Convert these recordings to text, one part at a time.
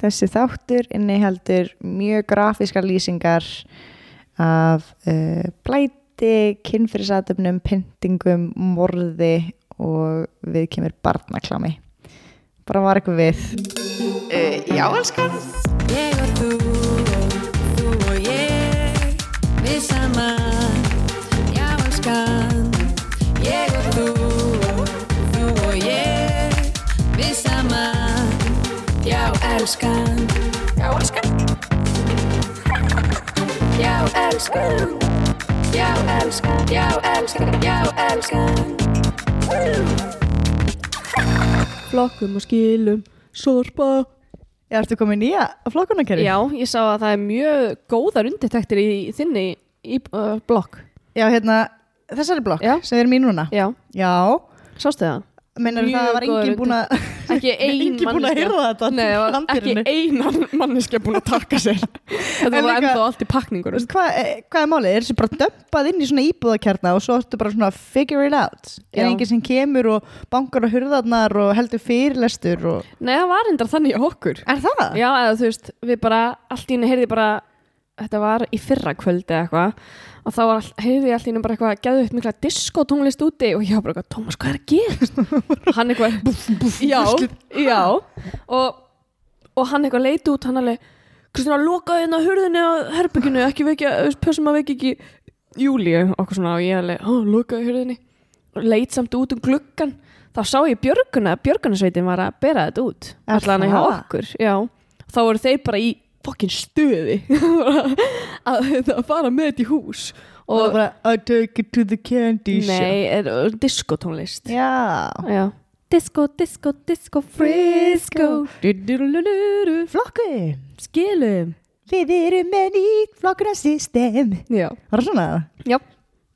Þessi þáttur inniheldur mjög grafískar lýsingar af uh, blæti, kynfyrirsatöfnum, pyntingum, morði og við kemur barnaklámi. Bara var eitthvað við. Uh, já, elskan. Ég og þú, þú og ég, við saman, já elskan. Ég og þú, þú og ég, við saman, já elskan. Já elskan. Já elskan. Já elskan, já elskan, já elskan. flokkum og skilum sorpa Já, ertu komin í að flokkunarkerfi? Já, ég sá að það er mjög góðar undirtektir í þinni í, uh, blokk Já, hérna, þessari blokk Já. sem við erum í núna. Já, Já. sástu það? Meinar Mjög það að var enginn góður búin að Ekki ein enginn búin að manneskja. heyra þetta Nei, það var ekki framtíðinni. einan manneskja búin að taka sér Þetta En var líka- ennþá allt í Þú pakningunum veist, Hvað eh, hvað er málið? Er þessi bara dömpað inn í svona íbúðakjarna og svo ertu bara svona figure it out? Er Já. enginn sem kemur og bankar á hurðarnar og heldur fyrirlestur og... Nei, það var endar þannig hjá okkur Er það? Já, eða þú veist, við bara, allt í henni heyrði bara Þetta var í fyrra kvöldi eða eitthvað og þá var all, heyrði ég allt í henni bara eitthvað geðu upp mikla diskotónglist úti og ég var bara eitthvað, Tómas, hvað er að gerast? Og hann eitthvað, búf, búf, já, já og, og hann eitthvað leiti út, hann alveg Kristina, lokaði hérna hurðinni á herbygginu ekki vekja, þú veist, pössum að vekja ekki Júlíu, okkur svona, og ég alveg, ó, lokaði hurðinni og leit samt út um gluggan þá sá ég björguna, björgunasveitin var að bera þetta út Er allan hjá það? okkur, já þá voru þeir bara í fokkin stuði að, að fara með þetta í hús Og og bara, I take it to the candy shop. nei, er, er diskotónlist Já. já Disco, disco, disco, frisco Du-du-du-du-du-du, Flokkur, Skilum við erum með nýtt flokkunarsystem. Já, Var það svona? já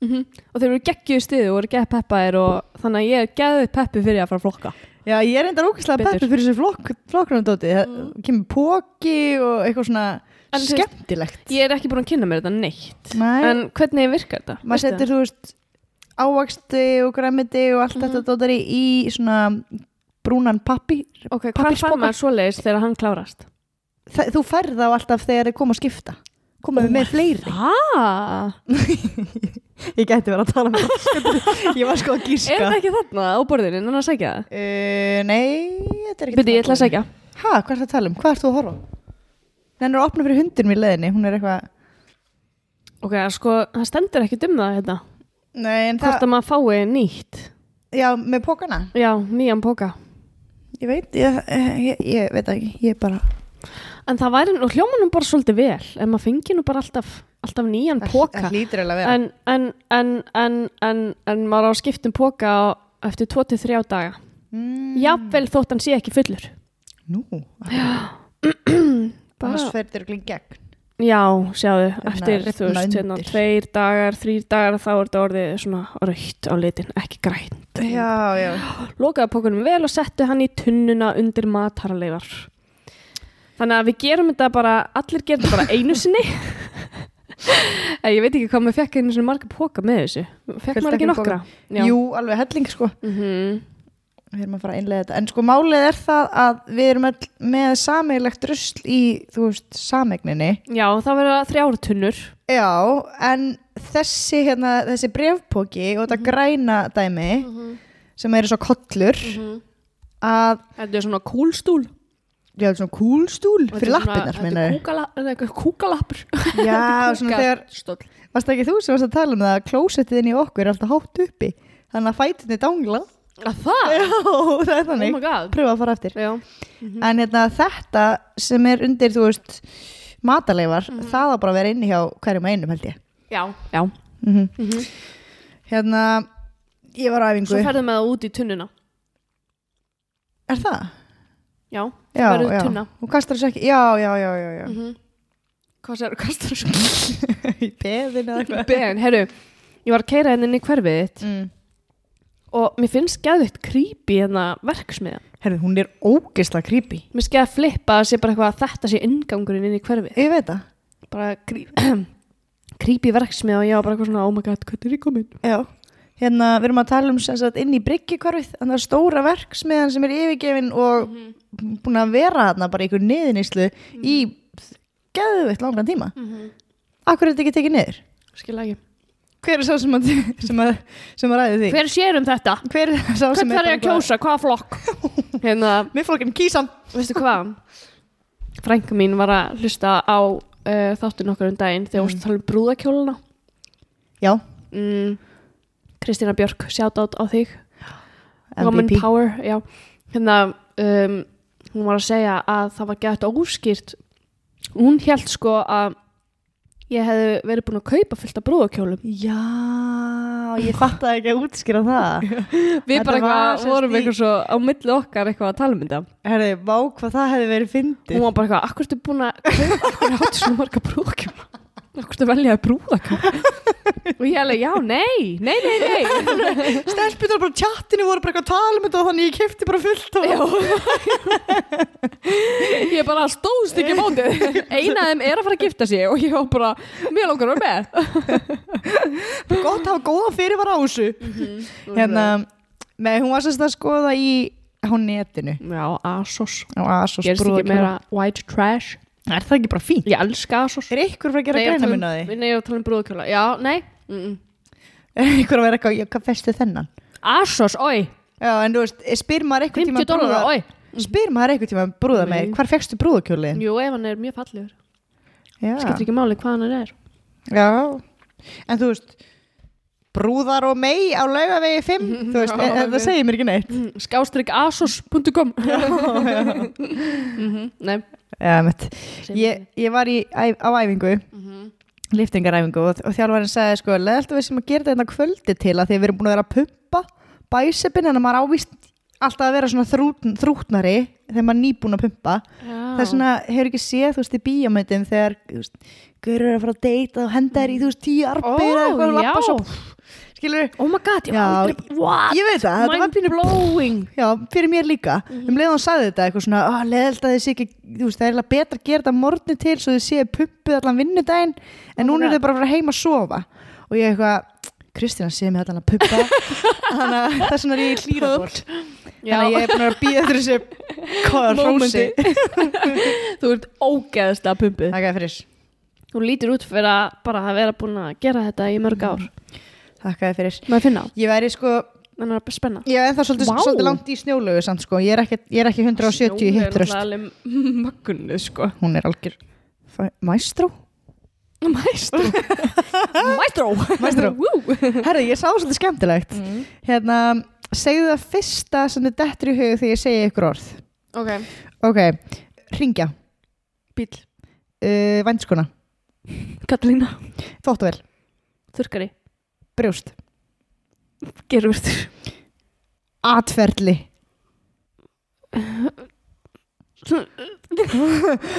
Mhm. Og þeir eru geggjuð stuði og eru geð peppaðir og þannig að ég er geðið peppi fyrir að fara að flokka Já, ég er enda ógæslega Betur. Mm. peppið fyrir þessu flokk, flokkunardóti. Það kemur póki og eitthvað svona En þú veist- skemmtilegt. Ég er ekki búin að kynna mér þetta neitt Nei. En hvernig virkar þetta? maður Veistu setur, þú veist, ávaksti og græmiti og allt þetta dótari í svona brúnan pappi. það? Ok, hvað pappírspoka? fann maður svoleiðis þegar hann klárast? Þa, þú færð þá alltaf þegar þið koma að skipta. Komum við með fleiri. Ah! Hæ? Ég gæti verið að tala með það. Ég var sko að Er gíska. það ekki þarna á borðinu, en að segja það? Uh, nei, þetta er ekki Byrði, ég ætla að segja Hæ, hvað er það að tala um? Hvað ert þú að horfa? Nennar að opna fyrir hundin mér leðinni, hún er eitthvað Ok, sko, það stendur ekki um það hérna Nei, en Hvort það, að maður fái nýtt já, með pókana Já, nýjan póka Ég veit, ég, ég, ég veit það ekki, ég bara En það væri nú hljóma nú bara svolítið vel En maður fengi nú bara alltaf, alltaf nýjan póka Það hlýtur alveg að vera en, en, en, en, en, en maður á að skipta um póka á, eftir 23 daga mm, Jafnvel þótt hann sé ekki fullur Nú, annars Bara, fer þér glín gegn Já, sjáðu, eftir rifna þú veist, hérna, undir. tveir dagar, þrýr dagar þá er þetta orðið svona rautt á litin, ekki grænt Já, já lokaði pokunum vel og settu hann í tunnuna undir matarleifar þannig að við gerum þetta bara allir gerum þetta bara einu sinni en ég veit ekki hvað maður fekk einu sinni marga poka með þessu fekk Fullt maður ekki af nokkra Jú, alveg helling sko mm Við erum að fara að innlega þetta En sko málið er það að við erum öll með sameigilegt rusl í, þú veist, sameigninni já það verða þrjár tunnur Já, en þessi hérna, þessi brefpóki Mhm. og þetta græna dæmi sem eru svo kollur Mhm. að, þetta er svona kúlstúl já, svona kúlstúl fyrir lappirnar, þetta er minnar kúkala- þetta er eitthvað kúkalappur Já, svona þegar, Kúkastóll. varst það ekki þú sem varst að tala um það að klósettið inn í okkur er alltaf hátt uppi þannig að fætinni dangla að það Já, það er Ah. oh þannig my god Pröfa að fara eftir já En hérna, þetta sem er undir, þú veist, matarleifar það á bara að vera inni hjá hverjum og einum held ég já, já. mm Hérna, ég var á æfingu svo ferðum við það út í tunnuna Er það? já, já, verður já. tunna. hún kastar þessu ekki, já, já, já, já, já. Mhm. hvað sér, hvað sér Mhm. í beðin eða eitthvað Ben, herru, ég var að keira henni inn í hverfið þitt mm. og mér finnst geðvitt creepy hérna verksmiða. herðu, hún er ógeðslega creepy Mér finnst geða að flippa að sé bara eitthvað að þetta sé inngangurinn inn í hverfið. ég veit það, Bara creep- creepy verksmiða og ég var bara eitthvað svona, oh my god, hvernig er ég komin? já hérna, við erum að tala um sem sagt inn í bryggjukvarfið, þannig að stóra verksmiðan sem er yfirgefin og búin að vera þarna bara í einhver niðinýslu í geðveitt langan tíma. Akkur er þetta ekki tekið niður? skil ekki Hver er sá sem að, sem að, sem að ræði því? hver sér um þetta? Hver er sá sem hvern þarf bara ég að kjósa, hvaða flokk? hérna, Mér flokkin kísan. veistu hvað frænka mín var að hlusta á uh, þáttun okkar um daginn þegar hún mm. tala um brúðakjóluna Já, mm, Kristina Björk, shout out á þig Woman MVP. Power já. hérna um, hún var að segja að það var gett óskýrt hún held sko að ég hefði verið búin að kaupa fullt af brúðakjólum Já, ég fattaði ekki að útskýra það. við Þetta var bara eitthvað sem vorum sagt í- eitthvað svo á milli okkar eitthvað að tala um þetta Herri, vá hvað það hefði verið fyndið. hún var bara eitthvað, akkur ertu búin að kaupa- af hverju áttu svona marga brúðakjóla akkur ertu að velja að brúðakjóla og ég alveg, já, nei, nei, nei, nei Stelpunar bara tjattinu voru bara eitthvað að tala um þetta og þannig ég kefti bara fullt og... ég bara stóðst ekki mótið eina af þeim er að fara að gifta sig og ég var bara, mér langar að vera með gott að hafa góða fyrirvara á þessu hérna, með hún var sérst að skoða í á netinu já, ASOS, á Asos gerist ekki meira white trash er það ekki bara fínt? ég elska ASOS er ykkur að fara að gera greina minna því? nei, ég var að tala um brúðakjóla, já, nei mm -mm. er ykkur að vera eitthvað, já, hvað festu þennan? ASOS, oi, já, en þú veist, spyr maður eitthvað 50 tíma dólar, oi spyr maður eitthvað tíma brúða með Nei. hvar fegstu brúðakjólin? jú, ef hann er mjög fallegur, já. skiptir ekki máli hvað hann er já, en þú veist brúðar og mei á laugavegi 5 þú veist, Já, e- e- ok. það segir mér ekki neitt skástrík asos.com Mhm, Nei, Já, mitt. Sem Ég, ég var í, æ- á æfingu Mhm. liftingaræfingu og, og þjálfarinn sagði sko, leðalt við sem að gera þetta hérna kvöldi til að því að við erum búin að vera að pumpa bæsepin en að maður ávist alltaf að vera svona þrútn, þrútnari þegar maður er nýbúin að pumpa það er svona, hefur ekki séð, þú veist, í bíómyndum þegar, þú veist, gaurur er að fara að deyta og henda Mm. þér í, þú veist, tíu arbeir eða eitthvað og lappa svo, skilur Oh my god, ég Já. var aldrei What? ég veit það, þetta var Mind Mhm. blowing Já, fyrir mér líka. Um leið og hann sagði þetta eitthvað svona, að leðilt að þið sé ekki, þú veist, það er eiginlega betra að gera þetta morgni til svo þið séu pumpið allan vinnudaginn, en núna er þið bara að fara heim að sofa. Og ég eitthvað, Kristina sé mig allan að pumpa, þannig að það er svona í hlýraból. Já. Þannig að ég er búin að vera að býða eftir þessu kóða Momenti. hrósi. Þú ert ógeðast að pumpu Takk fyrir. Þú lítir út fyrir að bara að vera búin að gera þetta í mörg ár Takk fyrir. Maður finna á, Mm. Ég væri sko, þannig að spenna ég er það svolítið, Vá. svolítið langt í snjólögu samt sko, ég er ekki, ég er ekki 170 í hittröst. Magnu sko Hún er algjör mæstró. Maestro Maestro Maestro. Woo. Herði, ég sá svolítið skemmtilegt Mm. Hérna, segðu það fyrsta sem þið dettur í hug þegar ég segi ykkur orð Ok, Ok, ringja, bíl, uh, vænskona, Katalína, þóttuvel, þurkari, brjóst gerurvörtur Atferli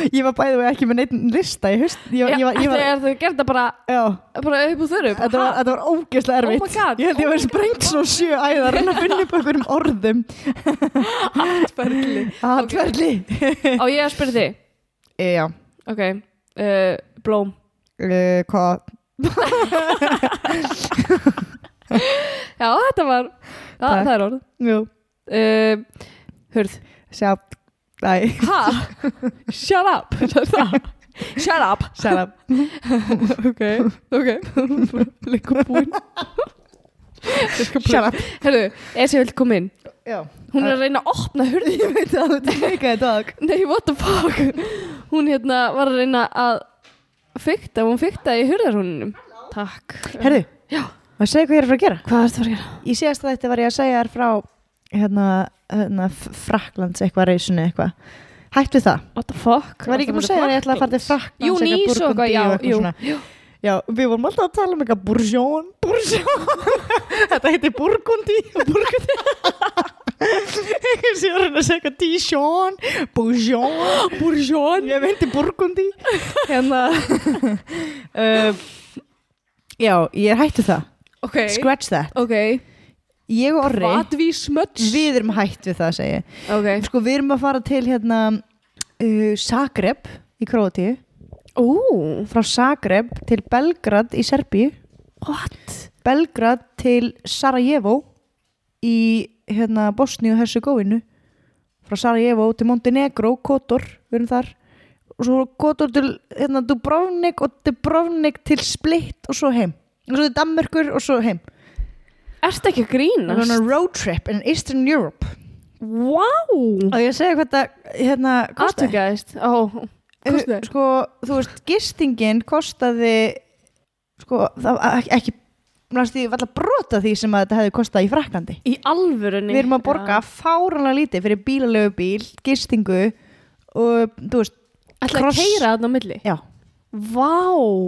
Ég var bæðið og ekki með neitt lista Ég, hust, ég, ég, var, ég var, Þegar þú gerði það bara já, bara upp úr þurru þetta, var, þetta var ógeðslega Oh my erfitt God, Ég held ég oh var sprengt svo sjö æðar en að finna upp okkur um orðum Atferli Atferli Á ég að spyrja þig Eh, Já, Ok, uh, blóm uh, hvað Já, þetta var Það, Takk. það er orð Jú, uh, Hörð sjá, næ Ha? Shut up Það er það. Shut up Sæla Ok, ok Liggur búinn Shut up Herðu, Esi vil koma inn Já Hún er að reyna að opna hurði Ég veit það Líka í dag Nei, what the fuck Hún hérna var að reyna að Fykta, hún fykta í hurðarhúninum Takk Herðu Já Maður segja hvað ég er að fara að gera Hvað er það að gera? Í síðasta þetta var ég að segja þér frá Hérna, hérna F- Fraklands eitthvað reysunni eitthvað Hætt við það What the fuck Það var ég ekki múið að segja þér að ég ætla að fara til Fraklands Jú, eitthvað nýs og Burgundí eitthvað, já, eitthvað jú. svona. Já, við vorum alltaf að tala um eitthvað Bursjón Bursjón Þetta heitir Burgundi Burgundi Ég sé að reyna að segja eitthvað Dijon Bursjón Bursjón Ég veit í Burgundi Hérna uh, Já, ég er hættu það Ok, Scratch that ok Ég og Orri Vatvís möts Við erum hætt við það að segja Ok Sko, við erum að fara til hérna uh, Zagreb í Króatíu Ú, Frá Zagreb til Belgrad í Serbíu what? Belgrad til Sarajevo í hérna, Bosníu og Hersegóinu frá Sarajevo til Montenegro, Kotor við erum þar og svo Kotor til hérna, Dubrovnik og Dubrovnik til Split og svo heim og svo til Danmörkur og svo heim Ertu ekki að We're on grínast? a road trip in Eastern Europe Vá! og ég að segja hvað þetta hérna, kostaði Aðtökaðist Ó, Eh, kostaði sko, þú veist, gistingin kostaði sko, það, var ekki, ekki næstu því alltaf brota því sem að þetta hefði kostað í frakkandi Í alvörunni við erum að borga fáranlega lítið fyrir bílalegu bíl, gistingu og þú veist, Ætla að kross- keira þarna á milli já, Vá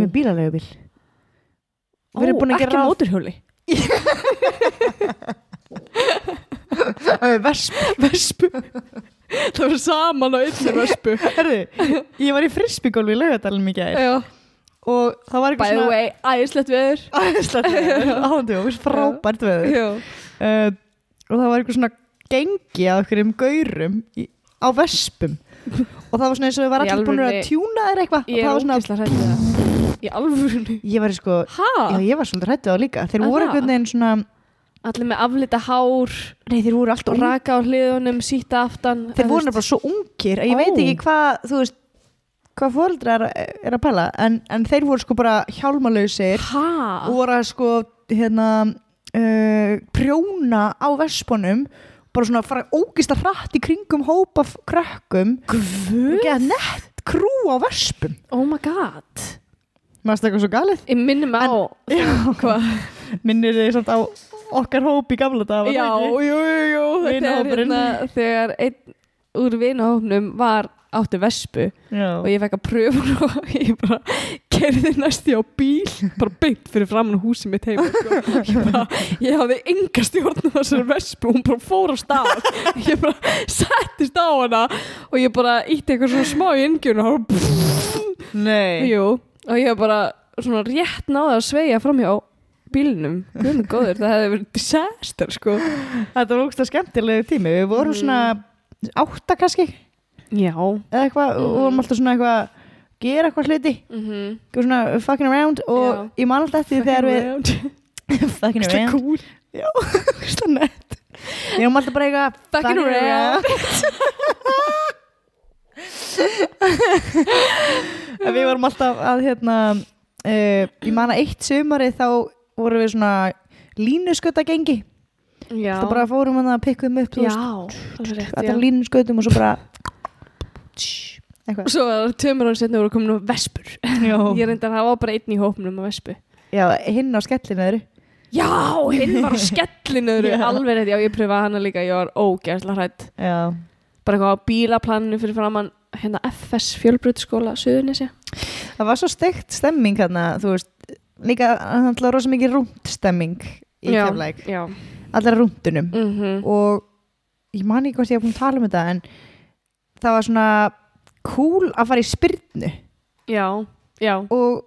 með bílalegu bíl við erum Ó, búin að gera Ekki ráð- móturhjóli vespu, vespu Það var saman á einni vespu Herðu, ég var í frisbygólfi í laugadalum í gæð By og það var eitthvað the way, æðislegt veður svona ándu, frábært veður uh, og það var eitthvað svona gengi að okkur um gaurum í, á vespum og það var svona eins og við var Í allir búin að alvörunni. tjúna þeir eitthvað og Ég það er var svona, ógeðslega hrætt við það Í alvörunni ég var sko já Hæ? ég var svolítið hrættið á það líka, þeir Að voru það? einhvern veginn svona Allir með aflita hár nei þeir voru alltaf rak Raka á hliðunum, síta aftan þeir að voru þú nefnilega veist- svo ungir að ég Ó. veit ekki hvað, þú veist hvað fóreldrar er að pæla en, en þeir voru sko bara hjálmalausir Hæ? og voru að sko hérna uh, prjóna á vespunum bara svona að fara ógist að hratt í kringum hópa f- krökkum Guð? og geða nett krú á vespum Oh my god Mæstu eitthvað svo galið? Ég minni mig En- á Hvað? Minnir þið samt á okkar hóp í gamla daga Já, jú, jú, jú Þegar, Vinahópurinn. hérna, þegar einn úr vinahópnum var átti vespu og Já. ég fekk að pröfa og ég bara kerði næstu á bíl bara beint fyrir framann húsið mitt heim sko. ég, bara, ég hafði enga stjórn á þessari vespu, hún bara fór á stað ég bara settist á hana og ég bara ítti eitthvað svona smá í yngjun og hún bara Nei Jú, og ég hef bara svona rétt náða að sveigja framhjá bílnum, guðnum góður, það hefði verið disaster sko. Þetta var ógst að skemmtilegu tími Við vorum svona átta kannski Já. eða eitthvað og vorum alltaf svona eitthvað gera eitthvað hluti, Mm -hmm. eitthvað svona fucking around og Já. ég man alltaf eftir því þegar við fucking Fucking cool. Já, ógst að nett Ég erum alltaf bara eitthvað Fucking around. En við vorum alltaf að hérna uh, ég man að eitt sumari þá vorum við svona línuskauta gengi Já. það bara fórum að pikka um upp þú Já, veist, það er rétt, þetta já. er línuskautum og svo bara eitthvað Svo var tömur hann setna voru komin á vespur. Ég já, reyndar að hafa bara einn í hópnum á vespu. já hinn á skellinu þeirri Já, hinn var á skellinu, Já. alveg rétt, já, ég pröfaði hana líka, ég var ógæðslega hrætt. já, Bara eitthvað á bílaplaninu fyrir framann, hérna FS fjölbrutskóla, Suðunisja. það var svo steikt stemming þarna, þú veist líka hann var rosa mikið rúmt stemming í Já. keflæk, Já. allra rúmtunum Mm og ég man ekki hvort ég hef búin að tala um þetta en það var svona cool að fara í spyrnu Já, já. og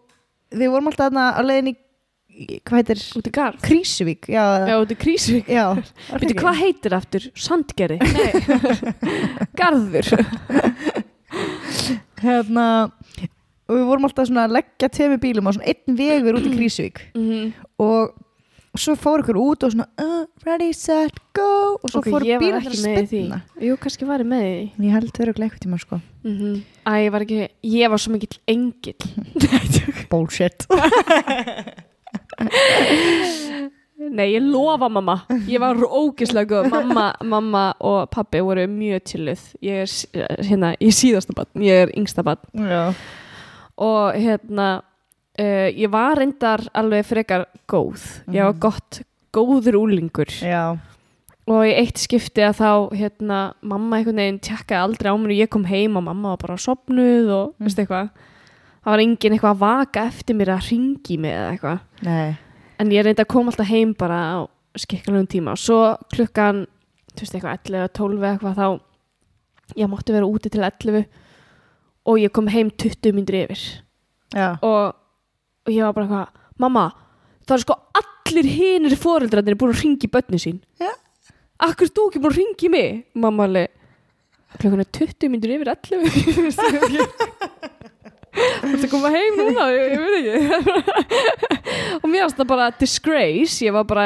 við vorum alltaf þarna á leiðinni í- hvað heitir, Út í garð. Krísuvík já, Já, út í Krísvík. já. Veitu, hvað heitir aftur? Sandgerði? Nei. Garður. hérna og við vorum alltaf svona að leggja tveimu bílum á svona einn vegur út í Krísuvík Mm-hmm. og svo fór ykkur út og svona uh, ready, set, go og svo Ok, fór ég var bílar ekki að með í því. spinna Jú, kannski var ég með í því. ég held þau eru eitthvað tíma sko Mm Æ, ég var ekki, ég var svo mikill engill. Nei, tjók. bullshit Nei, ég lofa mamma. Ég var ógislega góð. Mamma, mamma og pabbi voru mjög tilluð. Ég er, s- hérna, ég er síðasta barn, ég er yngsta barn. já, og hérna uh, ég var reyndar alveg frekar góð ég var gott, góður úlingur já. og í eitt skipti að þá hérna, mamma einhvern veginn tjekkaði aldrei á mér og ég kom heim og mamma var bara sopnuð og mm. veist eitthvað það var enginn eitthvað að vaka eftir mér að ringi mig eða eitthvað nei en ég reyndi að koma alltaf heim bara á skikkulegum tíma og svo klukkan þú veist eitthvað 11 eða 12 eða eitthvað þá ég mátti vera úti til 11 og ég kom heim 20 myndri yfir já, og, og ég var bara eitthvað mamma, það eru sko allir hinir foreldrarnir búin að ringi bönni sín Já. akkur stú ekki búin að ringi mig mamma alveg klukkan er 20 myndur yfir 11 Þú koma heim núna, ég, ég veit ekki Og mér varst það bara disgrace Ég var bara,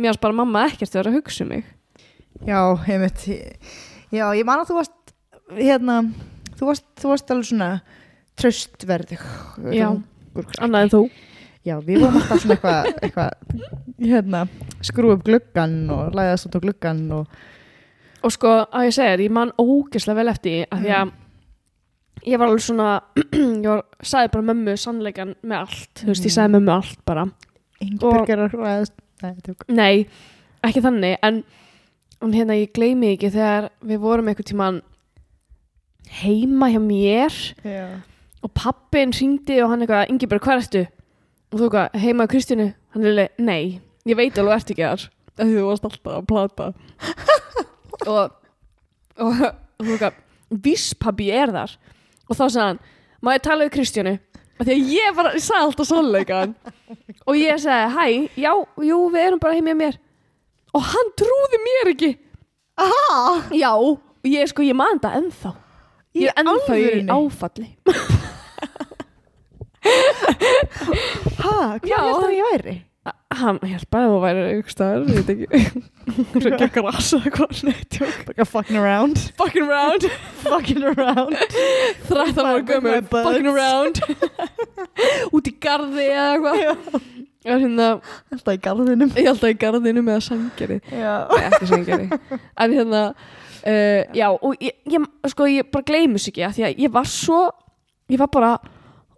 mér varst bara mamma ekkert að vera að hugsa um mig Já, heimitt Já, ég man að þú varst hérna, þú varst, þú varst alveg svona tröstverðug Já. Annað en þú Já, við vorum alltaf svona eitthvað eitthva, hérna, skrú upp gluggan og læðast út á gluggan og Og sko, að ég segja þér, ég man ógeðslega vel eftir því að því að ég var alveg svona, ég var, sagði bara mömmu sannleikan með allt, þú veist, ég sagði mömmu allt bara. yngbyrgar og læðast Nei, þetta er ok. Nei, ekki þannig, en, en hérna ég gleymi ekki þegar við vorum einhvern tíman heima hjá mér Já. og pappin hringdi og hann eitthvað, Ingi bara, hvað ertu? Og þú eitthvað, heima á Kristínu? Hann er leið, nei, ég veit alveg ert ekki þar, af því þú varst alltaf að plata. og, og, og þú eitthvað, viss pabbi ég er þar. Og þá sagði hann, má ég tala við Kristínu? Af því að ég bara, ég sagði alltaf sannleikan. og ég sagði, hæ, já, jú, við erum bara heima hjá mér. Og hann trúði mér ekki. Aha! Já, og ég sko, ég man það ennþá. Ég er ennþá í alvörunni? áfalli. Ha, hvað Já. held að ég væri? hann hjálpaði að það væri ykkur staðar, ég veit ekki hún er ekki að grasa eitthvað neitt ég var bara, Like a fucking around fucking around, Fucking around þrættan var gömur My buds. fucking around út í garði eða eitthvað ég var hérna, Alltaf í garðinum ég held að í garðinu með að sangjari Já ekki sangjari en hérna, uh, já og ég, ég, sko ég bara gleymus ekki af því að ég var svo, ég var bara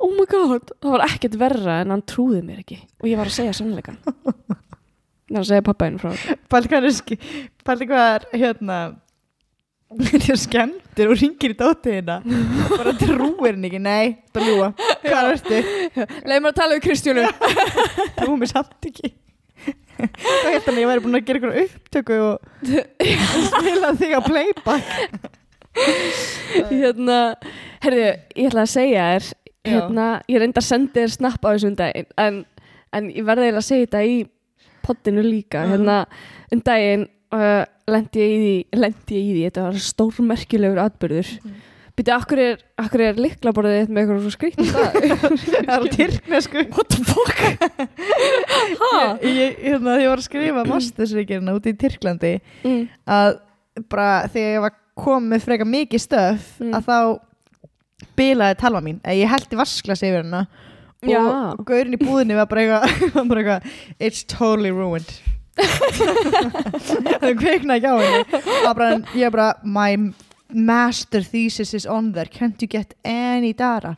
oh my god, það var ekkert verra en hann trúði mér ekki og ég var að segja sannleikan það að segja pappa einu frá Pældi hvað er ski Pældi hvað er hérna Þetta er skemmtir og ringir í dótiðina Bara trúir henni ekki, nei Bara ljúa, hvað ertu? leið mér að tala við Kristjánu Trú mér samt ekki Hvað held hann að ég væri búin að gera eitthvað upptöku og spila þig að playback hérna, herðu, ég ætla að segja þér Já. hérna, ég reyndi að senda þér snapp á þessum daginn en, en ég verði eiginlega að segja þetta í poddinu líka hérna, um daginn uh, lendi ég í því, lendi ég í því þetta var stórmerkilegur atbyrður mm. byrja, akkur er, akkur er liklaborðið þitt með eitthvað svo skrýtn Það er á tyrknesku What the fuck? ha? Ég, ég, hérna, ég var að skrifa mastersvíkirna úti í Tyrklandi Mm. að bara þegar ég var komið freka mikið stöf Mm. að þá bilaði talva mín eða ég held í vasklasi yfir hennar Já. og gaurin í búðinni var bara eitthvað var bara eitthvað, it's totally ruined það kveiknaði ekki á henni Það var bara, ég var bara, my master thesis is on there can't you get any data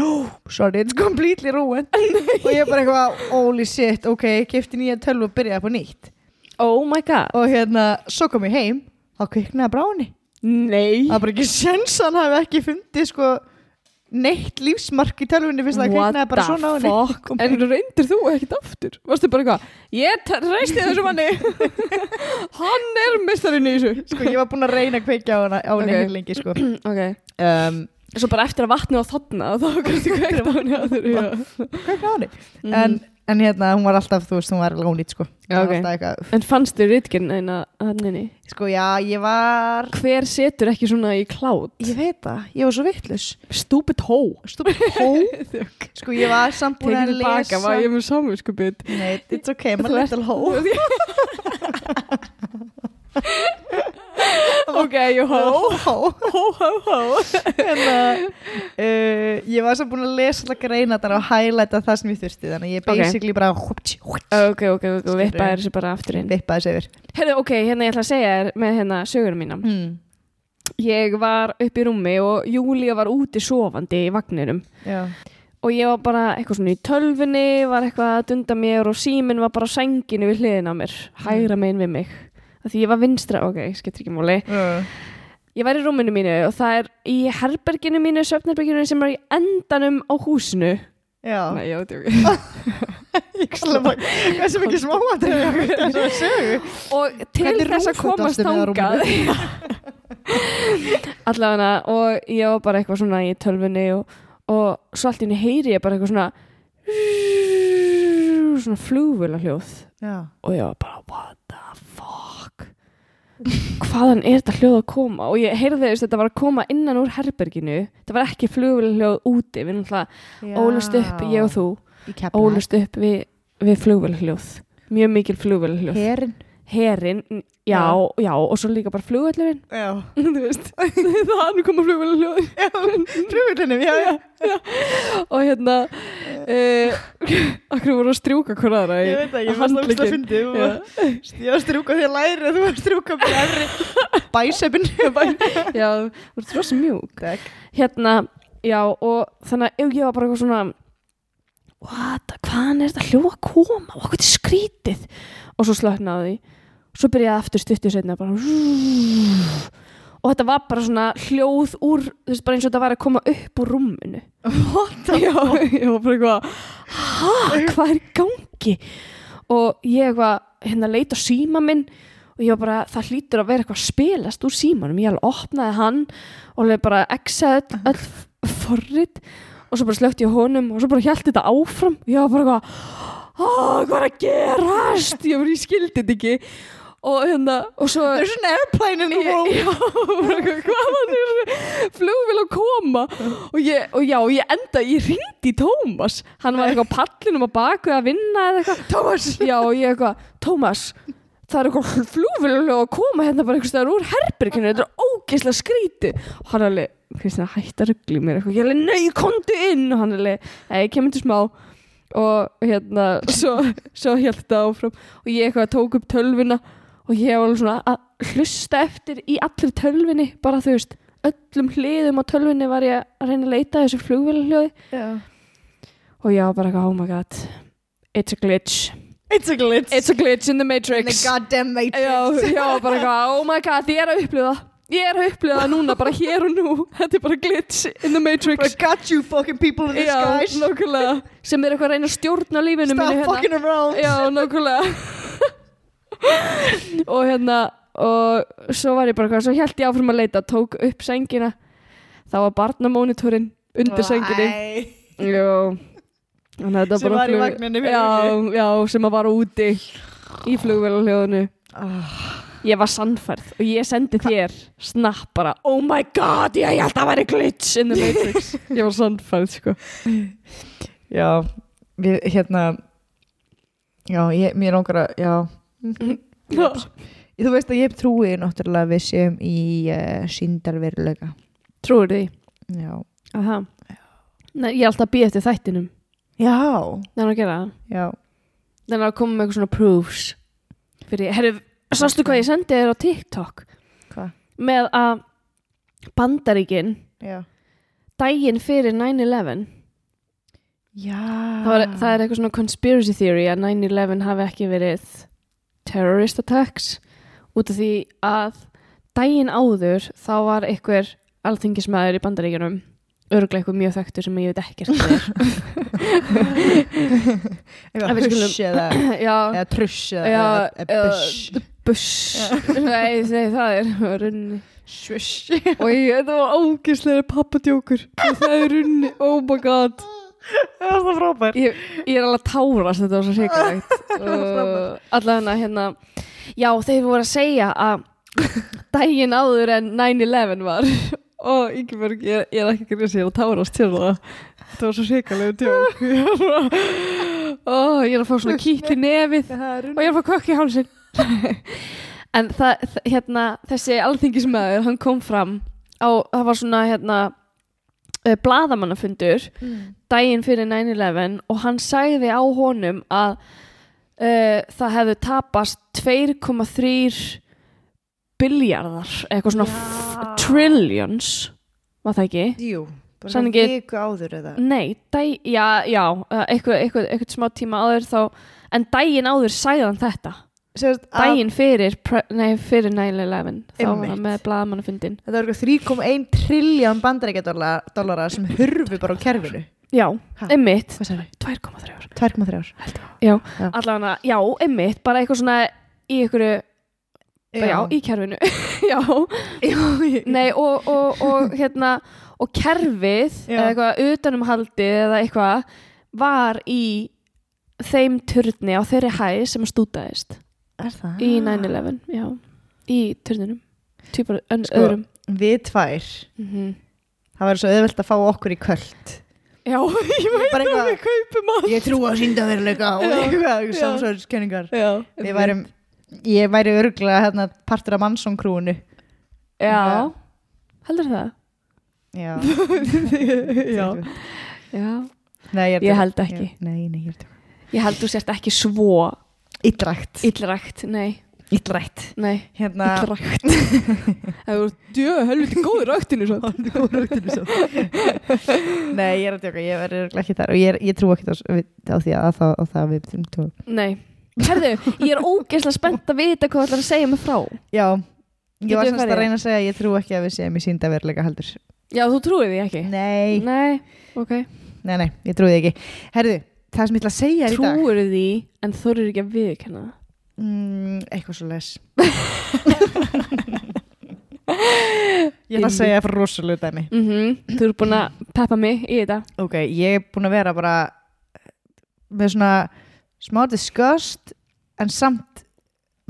no, sorry, it's completely ruined og ég bara eitthvað, holy shit ok, kefti nýja tölvu og byrjaði upp á nýtt oh my god og hérna, svo kom ég heim þá kviknaði bráni nei það var bara ekki sens að hann hafi ekki fundið sko neitt lífsmark í tölvunni fyrst að það kviknaði bara svona á henni fuck en reyndir þú ekkit aftur varstu bara eitthvað ég treysti þessu manni hann er mistarinn í þessu sko, ég var búin að reyna að kveikja á hana á henni Ok. okay. lengi sko ok um, svo bara eftir að vatni á þotna þá kannski kveikt á henni aftur já. kveiknaði á henni Mhm. en, en hérna, hún var alltaf, þú veist, hún var alveg ónýtt sko Mm. Já, Hún ok. var alltaf eitthvað, en fannstu ritgerinn eina hanninni sko já, ég var hver setur ekki svona í klátt ég veit það, ég var svo vittlus stúpid hó stúpid hó sko, ég var samt búin að tekið tilbaka lesa var ég með saminskupið Nei, it's ok, maður little hó ok, jú hó hó hó, hó, hó hérna, uh, ég var samt búin að lesa alltaf greina þarna og highlighta það sem ég þurfti þannig að ég Ok. Uh. basically bara ok, ok, ok, Skilurðu. vippa þessu bara aftur inn vippaði sér yfir Herðu, ok, hérna ég ætla að segja þér með hérna sögurum mínam mm. ég var upp í rúmi og Júlia var úti sofandi í vagninum já, og ég var bara eitthvað svona í tölfunni var eitthvað að dunda mér og síminn var bara á sænginu við hliðina á mér hægra megin við mig Af því ég var vinstra, ok, skiptir ekki máli Uh, ég var í rúminu mínu og það er í herberginu mínu, söfnerberginu sem er í endanum á húsinu já. Nei, ég veit ekki Ég ætla bara- hvað sem ekki smáatriði það er sögu og til Hvernig þess rúmföt að komast varstu með á þangað allavega og ég var bara eitthvað svona í tölfunni og, og svo allt í henni heyri ég bara eitthvað svona svona flugvila hljóð já, og ég var bara what the fuck hvaðan er þetta hljóð að koma og ég heyrði þess að þetta var að koma innan úr herberginu þetta var ekki flugvélhljóð úti við náttúrulega ólust upp, ég og þú í kefla ólust upp við, við flugvélhljóð mjög mikil flugvélhljóð herin herin, já, Já. já og svo líka bara flugvélhljóðin já þú veist, þannig koma flugvélhljóðin flugvöldinum já já og hérna uh, okkur voru að strjúka hver aðra í ég veit það ég varst það að handlegginn. fyndi Já. ég var að strjúka því að læri þú var að strjúka bara efri bæsefin já, þú ert rosa mjúk takk hérna, já, og þannig að ég var bara eitthvað svona what, hvaðan er þetta hljóð að koma og hvað er skrítið og svo slöknaði því, svo byrjaði aftur stuttu setna bara og þetta var bara svona hljóð úr þú veist, bara eins og þetta var að koma upp úr rúminu what the já, ég var bara eitthvað hæ, hvað er í gangi og ég eitthvað, hérna leita á síma minn og ég var bara, það hlýtur að vera eitthvað að spilast úr símanum, ég alveg opnaði hann og alveg bara exaði öll, öll forrit og svo bara slökti ég á honum og svo bara hjælti þetta áfram og ég var bara eitthvað "Ah, hvað er að gerast, ég var í skildið ekki og hérna og svo there's an airplane in the Ég- room Já, bara eitthvað, hvaðan er flugvél að koma og, ég, og já, ég enda, ég ringdi í Tómas hann var eitthvað á pallinum að baku að vinna eða eitthvað Thomas já, og ég eitthvað, Tómas það er eitthvað flugvél að koma hérna bara eitthvað staðar úr herberginu, þetta er ógeðslega skríti og hann er alveg, Kristina, hætt að ruggli mér eitthvað, ég er alveg, nei, komdu inn og hann er alveg, nei, ég kemur til smá og hérna, svo, svo held þetta áfram og ég eitthvað tók upp tölvuna og ég var alveg svona að hlusta eftir í allir tölvinni, bara þú veist öllum hliðum á tölvinni var ég að reyna að leita að þessu flugvélahljóði Já. og ég var bara eitthvað, oh my god it's a glitch, it's a glitz it's a glitch in in the the matrix goddamn matrix já, já, bara eitthvað, oh my god, ég er að upplifa það. ég er að upplifa það núna, bara hér og nú þetta er bara glitch in the I matrix got you fucking people in the já, skies nákvæmlega sem er eitthvað að reyna að stjórna lífinu stop mínu hérna. fucking around já, nákvæmlega og hérna og svo var ég bara eitthvað, svo held ég áfram að leita tók upp sengina þá var barnamónitorinn undir senginni Æ. Jó Þannig að þetta Sem bara var í flug- vagninum, í já, já, sem að var úti Í flugvélaljóðinu Ég var sannfærð og ég sendi þér Snapp bara, oh my god Ég held að það væri glitch in the matrix Ég var sannfærð, sko Já, við, hérna Já, ég, mér langar að Já, þú veist að ég trúi náttúrulega við séum í uh, síndarveruleika Trúir því Já Aha. Nei, Ég er alltaf að býja eftir þættinum Já, Það er að gera það já Það er að koma með eitthvað svona proofs Fyrir, herru, sástu hvað ég sendi þér á TikTok Hvað? Með að Bandaríkin Já, Dægin fyrir 9-11 já. það, var, það er eitthvað svona conspiracy theory að 9-11 hafi ekki verið terrorist attacks út af því að daginn áður þá var einhver alþingismæður í bandaríkjunum örglega eitthvað mjög þekktur sem ég veit ekkert hvað eitthvað við skulum- hush eða er já, eða trush eða- Já, eða eða eða- bush buss nei, nei, það er runni swish og ég, þetta var ógislega pappadjókur og það er runni, oh my god Það var það frábær ég, ég er alveg að tárast þetta var svo hrikalegt uh, Frábært. allavega hérna já þeir voru að segja að daginn áður en 9-11 var og Ingeborg ég, ég er ekki að grísa, ég er að tárast hérna þetta var svo hrikalegu djók Ég er bara- ó, ég er að fá svona kýtt í nefið Það er og ég er að fá kökk í hálsin en það, það hérna, þessi alþingismæður hann kom fram á, það var svona hérna uh, bladamannafundur runn daginn fyrir 9-11 og hann sagði á honum að uh, það hefðu tapast 2,3 biljardar eitthvað svona f- trillions var það ekki? Jú, bara Sanningi- eitthvað viku áður eða Nei, dag, já, já uh, eitthvað, eitthvað, eitthvað smá tíma áður þá en daginn áður sagði hann þetta Sérst, að- daginn fyrir, pre- nei, fyrir 9-11 þá var Einmitt. hann með blaðamannafundin Þetta var eitthvað 3,1 trilljón bandarækjadólara sem hurfu bara á kerfinu já, Ha? einmitt Hvað sagði? 2,3 ár 2,3 ár allavega, já, einmitt, bara eitthvað svona í einhverju já, í kerfinu já. Nei, og, og, og hérna og kerfið Já. eða eitthvað utanumhaldið eða eitthvað var í þeim turni á þeirri hæð sem stútaðist Er það? í 9-11 já. í turninum Týpar önn Sko. Mhm. öðrum Við tvær mm Það verður svo auðvelt að fá okkur í kvöld Já, ég veit Bara að eitthvað- við kaupum allt Ég trú á síndaveruleika og Já. eitthvað Já. samsvöðskenningar Já, Við værum Ég væri örglega hérna partur af Manson krúinu Já, heldur það? Já, Já, já Nei, ég, er Ég að- held ekki. Ég- Nei, nei, ég held ekki Ég held þú sért ekki svo Íllrækt illrækt, nei, Íllrækt nei Hérna illrækt Það voru djöðu helviti góð í ræktinu svo Nei, ég er að djóka, ég verður örugglega ekki þar og ég, er- ég trú ekki á, á því að það, að það við trú. Nei, herðu, ég er ógeðslega spennt að vita hvað þú ætlar að segja mig frá Já, ég Getum var við semst farið? að reyna að segja að ég trú ekki að við séum í síndaveruleika heldur Já, þú trúið því ekki Nei, Nei, ok nei, nei, ég trúi því ekki Herðu, það sem ég ætla að segja þér í dag Trúir því, en þú eru ekki að viðkenna það mm, Eitthvað svo les Ég ætla að segja frá rosalega dæmi mm Þú eru búin að peppa mig í þetta Ok, ég er búin að vera bara eh, með svona smá disgust en samt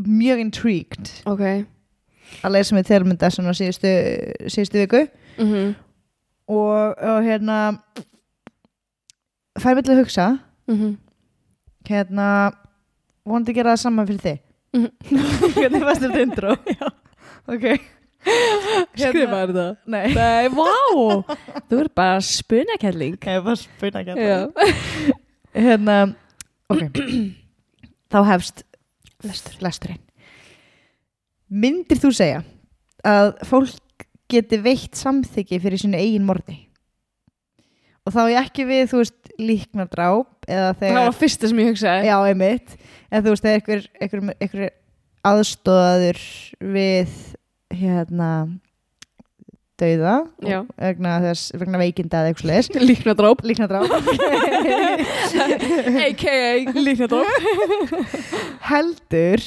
mjög intrigued Ok að lesa mig til mynda svona síðustu, síðustu viku mm -hmm. og, og hérna fær mig til að hugsa Mhm. hérna vonandi gera það saman fyrir þig Mhm. hvernig fannst þetta intro ok Hérna- þetta nei Nei, vá Þú eru bara spunakelling ég var spuna ekki Já hérna ok þá hefst lesturinn myndir þú segja að fólk geti veitt samþyggi fyrir sínu eigin morði og þá er ég ekki við þú veist líknar dráp eða Það var þegar fyrsta sem ég hugsaði já einmitt en þú veist þegar einhver, einhver, einhver er aðstoðaður við hérna dauða Já. vegna, þess, vegna veikinda eða eitthvað leis Líkna dróp líknar dráp A.K.A. líkna dróp heldur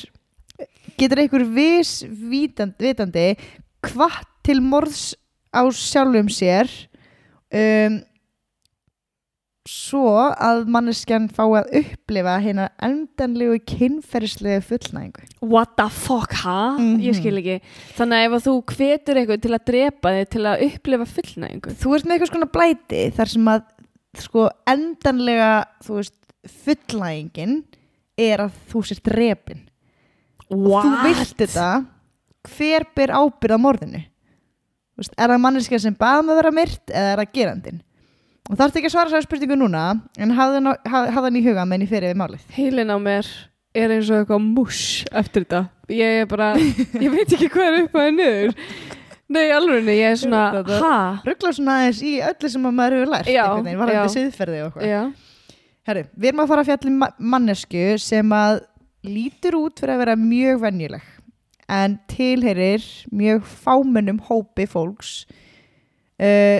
getur einhver viss vitandi, vitandi hvað til morðs á sjálfum sér um, svo að manneskjan fái að upplifa hérna endanlegu kynferðislegu fullnæðingu What the fuck, ha? Mhm. Ég skil ekki Þannig að ef að þú hvetur eitthvað til að drepa þig til að upplifa fullnæðingu þú ert með eitthvað svona blæti þar sem að sko endanlega þú veist fullnæðingin er að þú sér drepin og þú vilt þetta hver ber ábyrð á morðinu Þú veist, er það manneskja sem baða með að vera myrt eða er það gerandin og þarf ekki að svara sér spurningu núna en hafði hann í huga meðan ég fyrir við málið Heilin á mér er eins og eitthvað músh eftir þetta Ég er bara, ég veit ekki hvað er upp að er niður Nei, alveg, ég er svona, ha? rugglar svona aðeins í öllu sem að maður hefur lært Já, einhvern veginn, varandi já. siðferði og eitthvað Já, Herru, við erum að fara að fjalla um ma- mannesku sem að lítur út fyrir að vera mjög venjuleg en tilherir mjög fámennum hópi fólks uh,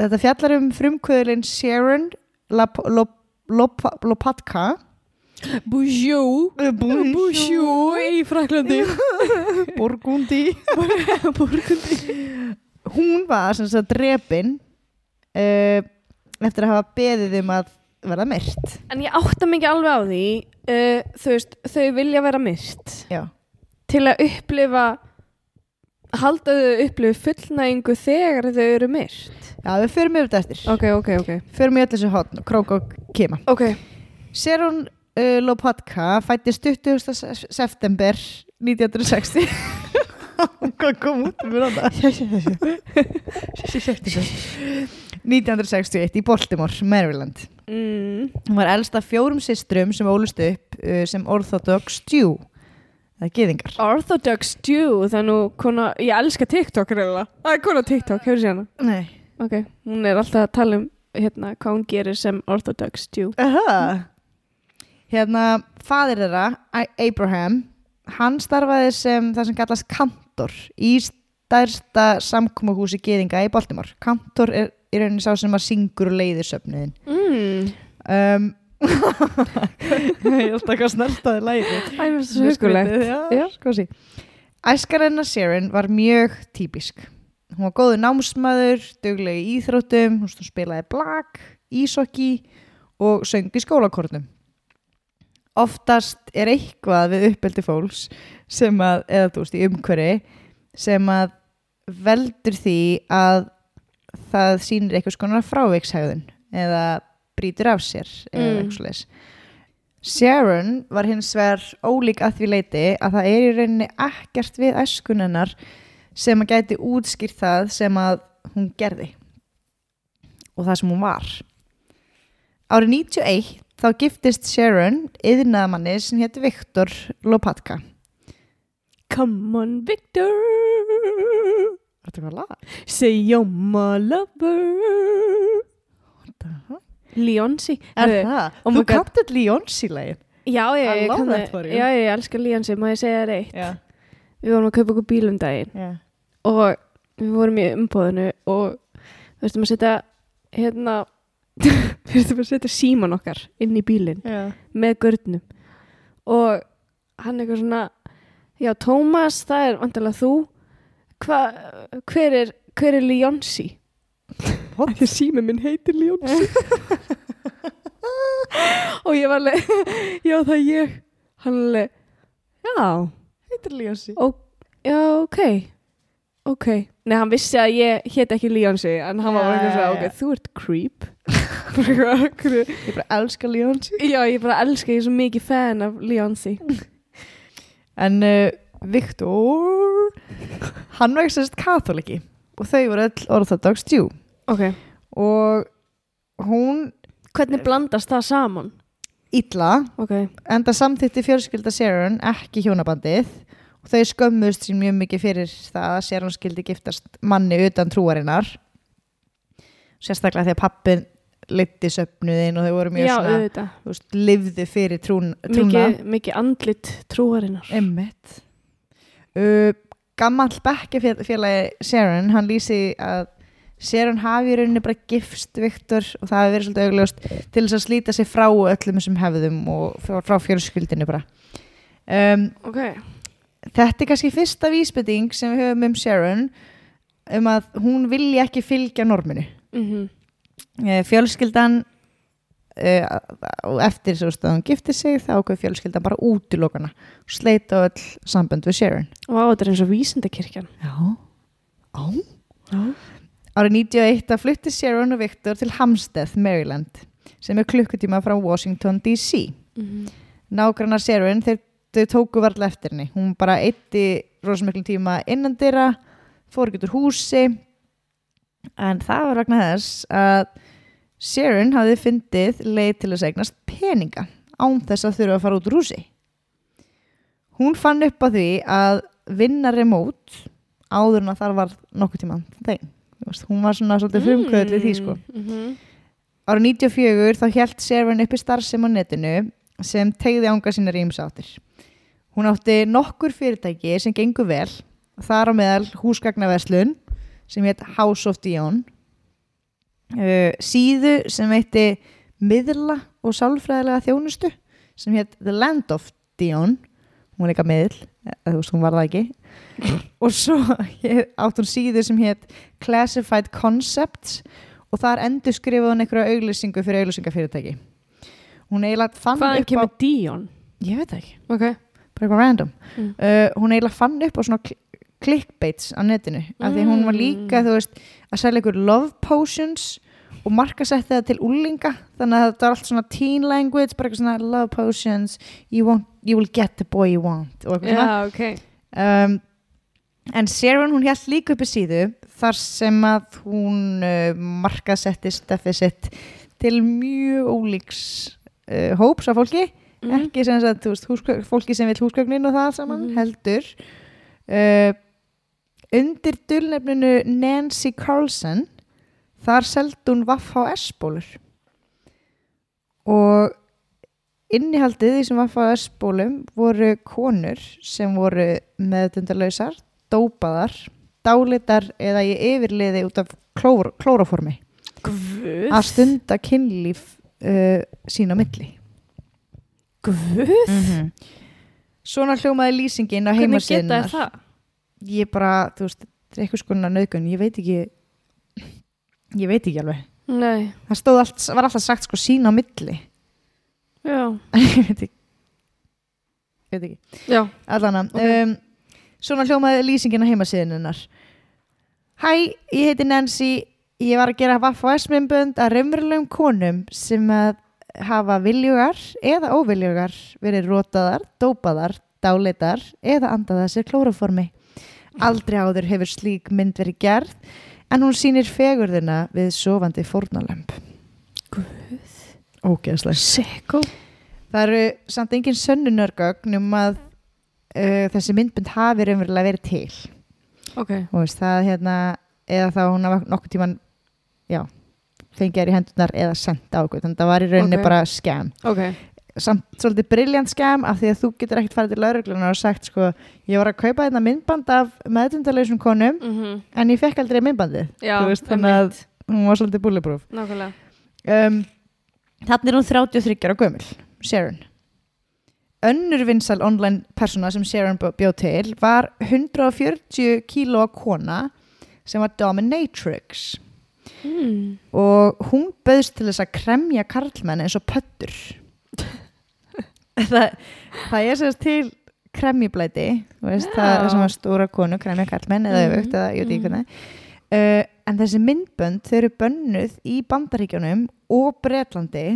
Þetta fjallar um frumkvöðulinn Sharon Lap Lop Lop Lopatka Bouchou Bouchou í Fraklandi Borgundi Hún var sem sagt drepin uh, eftir að hafa beðið um að verða myrt En ég átta mikið alveg á því uh, Þú veist, þau vilja vera myrt Já, Til að upplifa Halda þau upplifu fullnægingu Þegar þau eru myrt Já við förum yfir þetta eftir Ok, ok, ok Förum í öll þessu hotn og krók og kema Ok, Sharon uh, Lopatka fættist 20. se- september 1960 Hvað kom út um hérna? 1961 í Baltimore, Maryland mm, Hún var elst af fjórum systrum sem ólust upp uh, sem orthodox Jew eða gyðingar Orthodox Jew Það er nú kona, ég elska TikTok reyla Það er kona TikTok, hefur sér hana Nei Ok, hún er alltaf að tala um hérna, hvað hún gerir sem Orthodox Jew Aha. Hérna, fadir þeirra, A- Abraham, hann starfaði sem það sem kallast kantor í stærsta samkomahúsi geðinga í Baltimore. Kantor er í rauninni sá sem að syngur og leiðir söfniðin. mm. Um, ég held að hvað snertaði lægið. Æ, svo hugulegt Já. Já, sko sí. Æskar hennar Sharon var mjög típisk. Hún var góðu námsmaður, duglegi íþróttum, hún stund spilaði blak, ísokki og söng í skólakornum. oftast er eitthvað við uppeldi fólks sem að, eða þú veist, í umhverfi sem að veldur því að það sýnir einhvers konar fráveikshæðun eða brýtur af sér eða Mm. eitthvað svoleiðis. Sharon var hins vegar ólík að því leiti að það er í rauninni ekkert við æskunennar sem að gæti útskýrt það sem að hún gerði og það sem hún var. Árið 91 þá giftist Sharon yðnaðamanni sem hétt Viktor Lopatka. Come on Victor Þetta var lag. Say you're my lover Leonsi Er það? oh my Þú god. kaptir Leonsi-lægin. Já, já, I ég love kann that for það you. Já, já, ég elska Leonsi, má ég segja þér eitt Já. Við vorum að kaupa okkur bíl um daginn Já. og við vorum í umbóðinu og við veistum að setja hérna við veistum að setja síman okkar inn í bílinn Já. með gurnum og hann eitthvað svona já, Tómas, það er vantilega þú Hva, hver er hver er Ljónsi? What? Því sími minn heitir Ljónsi og ég var alveg já, það er ég hann alveg, já Heitir Leonsi. og, já, ok ok, nei, hann vissi að ég hétt ekki Leonsi, en hann Já, var bara eitthvað já, já. svona, ok, þú ert creep bara eitthvað, hverju- Ég bara elska Leonsi. já, ég bara elska, ég er svo mikið fan af Leonsi En uh, Viktor, hann var ekki sérst katholiki og þau voru öll orðadogs djú. ok, Og hún hvernig blandast það saman? illa ok, enda samþýtti fjölskylda Sharon ekki hjónabandið og þau skömmust sín mjög mikið fyrir það að Sharon skyldi giftast manni utan trúarinnar sérstaklega þegar pappin litti söpnuðin og þau voru mjög já, svona auðvitað þú veist, lifðu fyrir trún, trúna mikið, mikið andlit trúarinnar Einmitt. Uh, gammal bekkefélagi Sharon, hann lýsi að Sharon hafi í rauninni bara gifst Viktor og það hafi verið svolítið augljóst til þess að slíta sig frá öllum þessum hefðum og frá, frá fjölskyldinu bara. Um, ok, þetta er kannski fyrsta vísbending sem við höfum um Sharon um að hún vilji ekki fylgja norminu. mm -hmm. Eh, fjölskyldan eh, og eftir svo að hún gifti sig þá ákveð fjölskyldan bara útilokana og sleita á öll sambönd við Sharon Vá, þetta er eins og vísindakirkjan Já. Á. Árið 91 að flutti Sharon og Victor til Hamstead, Maryland sem er klukkutíma frá Washington DC. Mhm. Nágranna Sharon þeir, þau tóku varla eftir henni. Hún bara eitti rosamiklum tíma innan dyra, fór ekki út úr húsi en það var vegna þess að Sharon hafði fyndið leið til að segnast peninga án þess að þurfa að fara út úr húsi. Hún fann upp á því að vinna remote áður en að þar var nokkuð tíma þeim. Hún var svona svolítið frumkvöðl í því sko. mm -hmm. Árið 94 þá hjælt Sharon uppi starfsem á netinu sem tegði ánga sína rýmsáttir. Hún átti nokkur fyrirtæki sem gengu vel, þar á meðal húsgagnaverslun sem hétt House of Dion, uh, síðu sem heitti miðla og sálfræðilega þjónustu sem hétt The Land of Dion, hún var líka miðl, eða þú veist hún var það ekki, og svo átt hún síðu sem hétt Classified Concepts og þar endur skrifaði hún einhverja auglýsingu fyrir auglýsingafyrirtæki hún eiginlega fann hvaðan upp á kemur Dion? ég veit það ekki, ok, bara eitthvað random Mm. uh, hún eiginlega fann upp á svona kl- clickbaits á netinu, af því hún var líka þú veist, að selja ykkur love potions og markasetti það til úlinga þannig að þetta var allt svona teen language bara eitthvað svona love potions you, won't, you will get the boy you want og eitthvað svona já, ok um, en Sharon hún held líka uppi síðu þar sem að hún uh, markasetti steffið sitt til mjög ólíks uh, hóps af fólki Mhm. ekki sem sagt, þú veist, húsgögn, fólki sem vil húsgögnin og það saman heldur uh, undir dulnefninu Nancy Carlson þar seldi hún Vaff HS bólur og innihaldið í þessum Vaff HS bólum voru konur sem voru meðdundarlausar, dópaðar dálitar eða í yfirliði út af klór, klóraformi Guð, að stunda kynlíf uh, sín á milli guð Svona hljómaði lýsingin á Mm-hmm. hvernig geta heimasíðunar. það? Ég bara, þú veist, þetta er eitthvað skona nöðgun, ég veit ekki, ég veit ekki alveg. nei, Það stóð allt, var alltaf sagt sko sín á milli. já ég veit ekki, veit ekki Já, Allana, um, svona hljómaði lýsingin á heimasíðinunnar. Hæ, ég heiti Nancy, ég var að gera Vaffa S-myndbönd að raunverulegum konum sem að hafa viljugar eða óviljugar verið rótaðar, dópaðar, dáleitar eða andaða sér klóraformi. Aldrei áður hefur slík mynd verið gerð en hún sýnir fegurðina við sofandi fórnalömb. Guð. Ógeðslega. sicko Það eru samt engin sönnunargögn um að uh, þessi myndbund hafi raunverulega verið til. Ok, Þú Veist, það hérna, eða þá hún hafa nokkuð tíman, já, fengið þær í hendunar eða sendt á okkur. Þannig að það var í rauninni Ok. bara skem. ok Samt svolítið briljant skem af því að þú getur ekkert farið til lauruglunar og sagt, sko, ég var að kaupa þetta myndband af meðdundalöysum konum mm -hmm. en ég fekk aldrei myndbandið. Já, Þú veist, þannig að- einmitt. Hún var svolítið bulletproof. Nákvæmlega um, Þannig er hún 33 ára gömul Sharon Önnur vinsal online persóna sem Sharon bjó- bjó til var 140 kílóa kona sem var dominatrix mm. og hún bauðst til þess að kremja karlmenn eins og pöttur það, það er sérst til kremjublæti þú veist, það Já. er sem að stóra konu kremja karlmenn eða Mhm, auðvögt eða ég veit ekki mhm. hvernig uh, en þessi myndbönd þau eru bönnuð í bandaríkjunum og bretlandi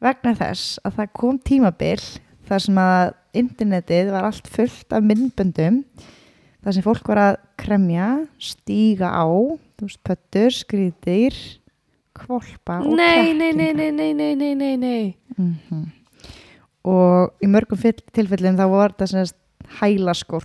vegna þess að það kom tímabil þar sem að internetið var allt fullt af myndböndum þar sem fólk var að kremja, stíga á þú veist, pöttur, skrýðir kvolpa og Nei, nei, krekkinga. nei, nei, nei, nei, nei, nei, nei Mhm. og í mörgum fyll- tilfellum þá var þetta sem hælaskor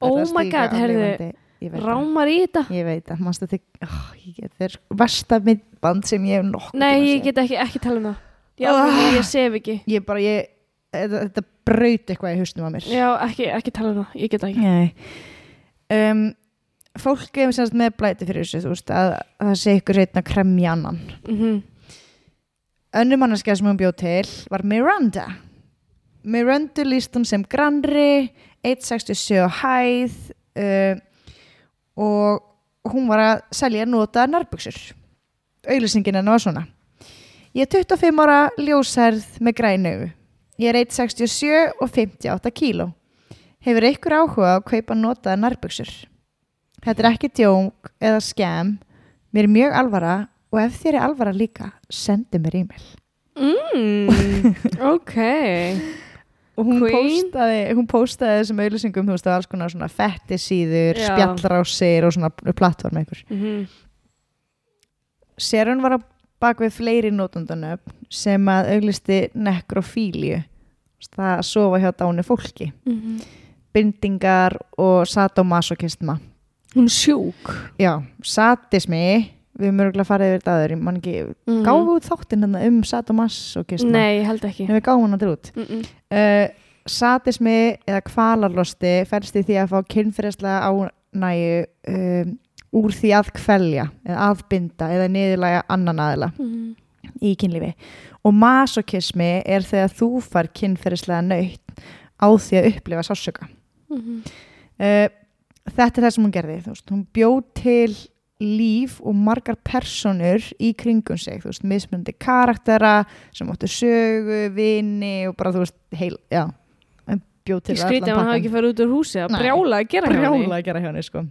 Oh Þetta my stíga God, á heyrðu, lifandi- ég veit það. Rámar í þetta ég veit að mannstu þig oh, ég get þér versta myndband sem ég hef nokkuð Nei, tímann ég séð. get ekki, ekki tala um það Já, Ah. ég sef ekki ég bara, ég, þetta, þetta braut eitthvað í hausnum á mér Já, ekki, ekki tala um það, ég get það ekki Nei. Um, fólk er semst með blæti fyrir þessu þú veist, að, að það sé ykkur reyna að kremja annan mm -hmm. önnum manneskja sem hún bjóð til var Miranda Miranda líst hún sem grannri 167 á hæð uh, og hún var að selja nota nærbuksur auðlýsingin hennar var svona ég er 25 ára ljósherð með grænaugu ég er 167 og 58 kíló hefur einhver áhuga á að kaupa nota nærbuksur þetta er ekki djónk eða skem mér er mjög alvara og ef þér er alvara líka sendu mér e-mail mm. Ok og hún Queen. postaði, hún postaði þessum auðlýsingum, þú veist, það var alls konar svona fettisíður, Já. spjallrásir og svona plattform einhver. mm Sharon var á bak við fleiri notundunöf sem að auðlisti nekrofíliu, það að sofa hjá dánu fólki, Mhm. bindingar og sadomasokistma. Hún er sjúk Já, sadismi, við höfum örgulega farið yfir þetta aður, ég man ekki, Mhm. gáfum við þáttinn hérna um sadomasokistma? Nei, ég held ekki En við gáfum hann þetta út. mm -mm. uh, sadismi eða kvalarlosti fælst í því að fá kynferðislega ánægju um, úr því að kvelja eða aðbinda eða niðurlæga annan aðila Mm. í kynlífi og masokismi er þegar þú far kynferðislega nöytt á því að upplifa sásöka Mm uh, þetta er það sem hún gerði þú veist, hún bjóð til líf og margar personur í kringum sig, þú veist, mismunandi karaktera sem áttu sögu, vini og bara, þú veist, heil, já hún bjóð til Ég skríti að hann hafi ekki farið út úr húsi að Nei. brjála að gera hjá henni. brjála að gera hjá henni, sko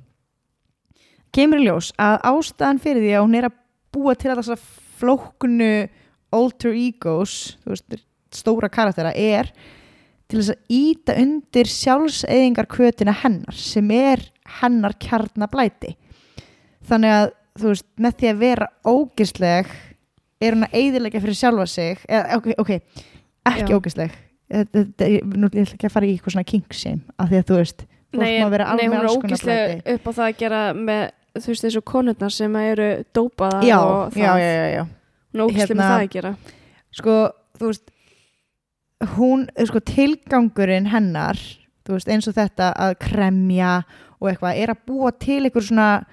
kemur í ljós að ástæðan fyrir því að hún er að búa til að þessar flóknu alter egos þú veist, stóra karaktera er til þess að íta undir sjálfseyðingar kvötina hennar sem er hennar kjarnablæti þannig að þú veist, með því að vera ógisleg er hún að eyðilega fyrir sjálfa sig eða, ok, ok, ekki Já. ógisleg Þetta- þetta- ég nú- ég ætla ekki að fara í eitthvað svona kinksheim af því að þú veist, fólk Nei, má vera nei, alveg hún er alls konar ógíslega blæti upp á það að gera með þú veist þessu konurnar sem eru dópaðar já, og það já, já, já, já hún er ógíslega Hérna- með það að gera sko, þú veist hún, sko, tilgangurinn hennar, þú veist, eins og þetta að kremja og eitthvað er að búa til einhver svona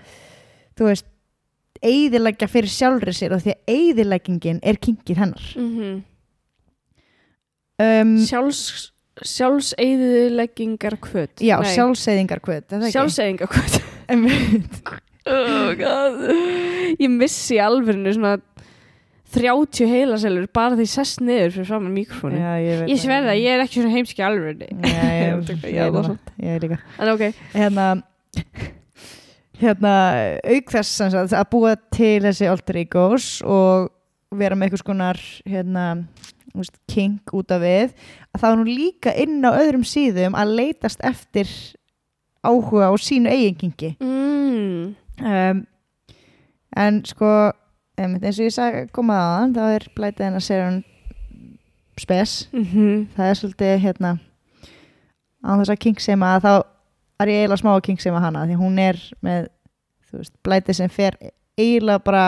þú veist, eyðileggja fyrir sjálfri sér og því að eyðileggingin er kynkið hennar mm um, Sjálfs, sjálfseiðileggingar kvöt já, sjálfseyðingar kvöt sjálfseiðingar kvöt oh, God. ég missi alvörinu svona 30 heilaselur bara því sess niður fyrir framan mikrofónu Já, ég veit ég sverða, ég er ekki svona heimski alveg Já, ég, Ég ég, veit ég, það. líka- ég líka en ok, hérna hérna auk þess sem sagt, að búa til þessi alter egos og vera með einhvers konar hérna þú veist, kink út af við að það er nú líka inn á öðrum síðum að leitast eftir áhuga á sínu eiginkingi mm, um, en sko um, eins og ég sagði koma aðan þá er blætið hennar sér hann spes mm það er svolítið hérna án þess að kingsema þá er ég eiginlega smá að kingsema hana því hún er með þú veist, blætið sem fer eiginlega bara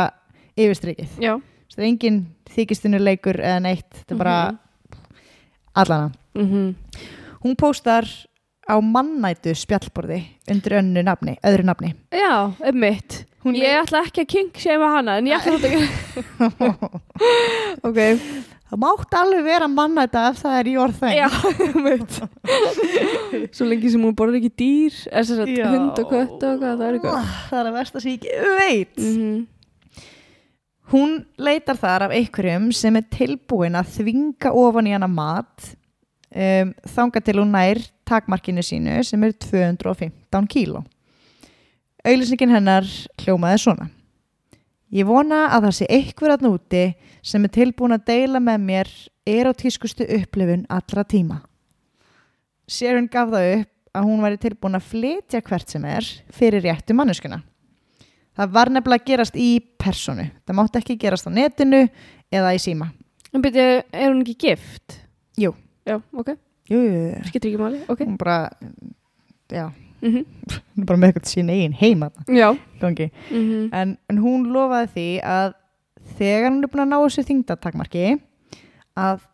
yfirstrikið já það er engin þykistinu leikur eða neitt þetta er bara Mhm. allana mm hún póstar á mannætu spjallborði undir önnu nafni, öðru nafni já, um mitt Hún ég er- ætla ekki að kink séma hana en ég ætla þetta ekki það ok, mátt alveg vera mannæta ef það er í orð já, um mitt svo lengi sem hún borður ekki dýr er þess að Já. hund og kött og hvað það er eitthvað það er að versta sem ég ekki veit mm Hún leitar þar af einhverjum sem er tilbúin að þvinga ofan í hana mat um, þanga til hún nær takmarkinu sínu sem er 215 kíló. Auðlýsningin hennar hljómaði svona. Ég vona að það sé einhver að núti sem er tilbúin að deila með mér erotískustu upplifun allra tíma. Sharon gaf það upp að hún væri tilbúin að flytja hvert sem er fyrir réttu manneskuna. Það var nefnilega að gerast í personu. Það mátti ekki gerast á netinu eða í síma. en byrju, er hún ekki gift? Jú. já, ok, Jú, jú, jú. skiptir ekki máli, ok Hún bara, já, mm hún er bara með eitthvað sín eigin heima þarna já í gangi. mm En, en hún lofaði því að þegar hún er búin að ná þessu þyngdatakmarki að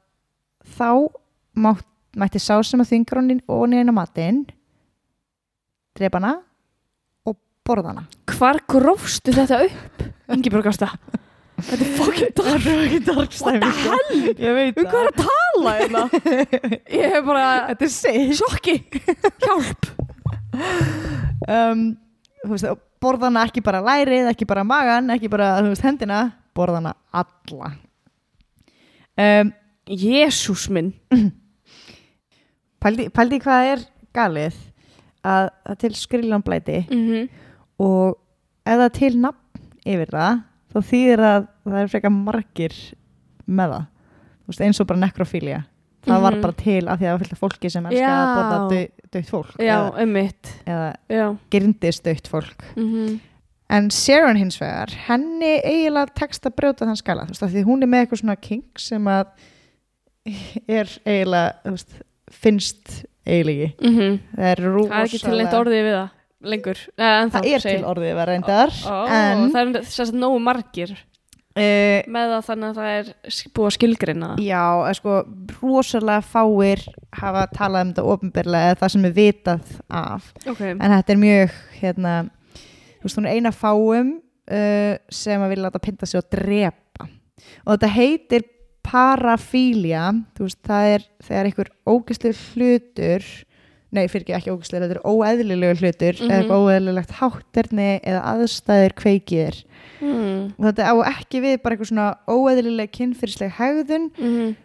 þá mátt, mætti sá sem að þyngra hún og neina matinn drepa hana og borða hana. hvar grófstu þetta upp Ingi Björgásta þetta er fokkin dark er ekki darkstæmi. What the hell? Ég veit um hvað er að tala hérna ég hef bara Þetta er sitt. sjokki hjálp um, þú veist, og borða hana ekki bara lærið, ekki bara magan, ekki bara þú veist, hendina, borða hana alla. Um, Jésús minn pældi, pældi hvað það er galið að, að til skrillan blæti mm -hmm. og ef það er til nafn yfir það, þá þýðir að það er frekar margir með það. Þú veist, eins og bara nekrofília. Það var Mhm. bara til af því að það var fyllt af fólki sem elskaði að borða Já. dau- dautt fólk já, um eða, emmitt eða já gyrndist dautt fólk. mm En Sharon hins vegar, henni eiginlega tekst að brjóta þann skala, þú veist, af því hún er með eitthvað svona king sem að er eiginlega, þú veist, finnst eiginlegi. Mhm. Það er rosalega... það er ekki til neitt um orðið við það lengur Nei, en þá, Það er segi- til orðið var reyndar, Ó, en... það er sérst nógu margir eh, með það þannig að það er sk- búið að skilgreina það. Já, eða sko, rosalega fáir hafa talað um þetta ofinbyrlega eða það sem er vitað af. okay. Mm. En þetta er mjög, hérna, þú veist, hún er eina fáum uh, sem að vilja láta pinta sig og drepa. Og þetta heitir parafília, þú veist, það er þegar einhver ógæslu hlutur, nei, fyrir ekki ekki ógæslu, þetta er óeðlilegu hlutur Mhm. eða eitthvað óeðlilegt hátterni eða aðstæður kveikir. mm. Og þetta á ekki við bara eitthvað svona óeðlileg kynfyrsleg hegðun, Mm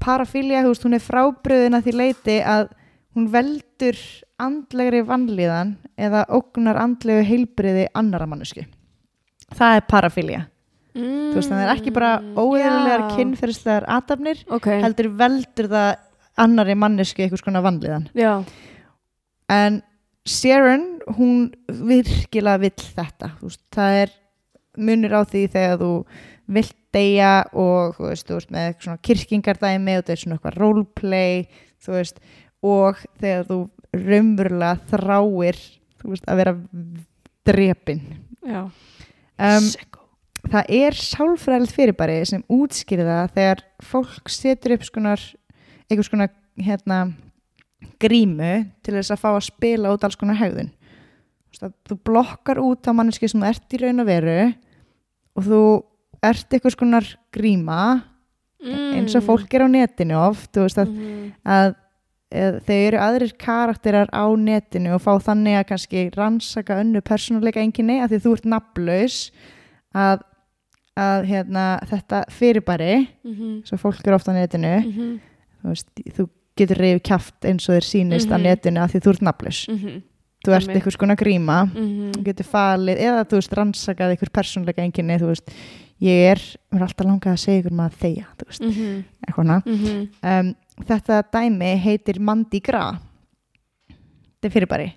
parafília, þú veist, hún er frábriðin að því leiti að hún veldur andlegri vannlíðan eða ógnar andlegu heilbriði annara mannesku. Það er parafília. Þú veist, það er ekki bara óeðlulegar Hmm. Mm, Já. kynferðislegar aðdafnir, ok, heldur veldur það annari mannesku einhvers konar vannlíðan. já En Sharon, hún virkilega vill þetta. Þú veist, það er munur á því þegar þú vilt deyja og þú veist, þú veist með eitthvað svona kirkingardæmi og það er svona eitthvað roleplay, þú veist, og þegar þú raunverulega þráir, þú veist, að vera drepin. já Um, Sicko. það er sálfræðilegt fyrirbæri sem útskýrða þegar fólk setur upp skonar, einhvers konar hérna, grímu til þess að fá að spila út alls konar hegðun Þú veist að þú blokkar út á manneski sem þú ert í raun og veru og þú ert einhvers konar gríma eins Mm. og Hmm. fólk er á netinu oft þú veist að, Mhm. að eð, þau eru aðrir karakterar á netinu og fá þannig að kannski rannsaka önnu persónuleika enginni að því þú ert nafnlaus að, að hérna, þetta fyrirbæri mm -hmm. svo fólk er ofta á Mhm. netinu þú, veist, þú getur reyðu kjaft eins og þér sýnist Mhm. á netinu af því þú ert nafnlaus þú ert Einmitt. einhvers konar gríma Mhm. þú getur falið eða þú veist rannsakað einhver persónleika enginni þú veist ég er, mér er alltaf langað að segja ykkur maður að þegja þú veist, Mhm. eitthvað hana um, þetta dæmi heitir Mandy Gra þetta er fyrirbæri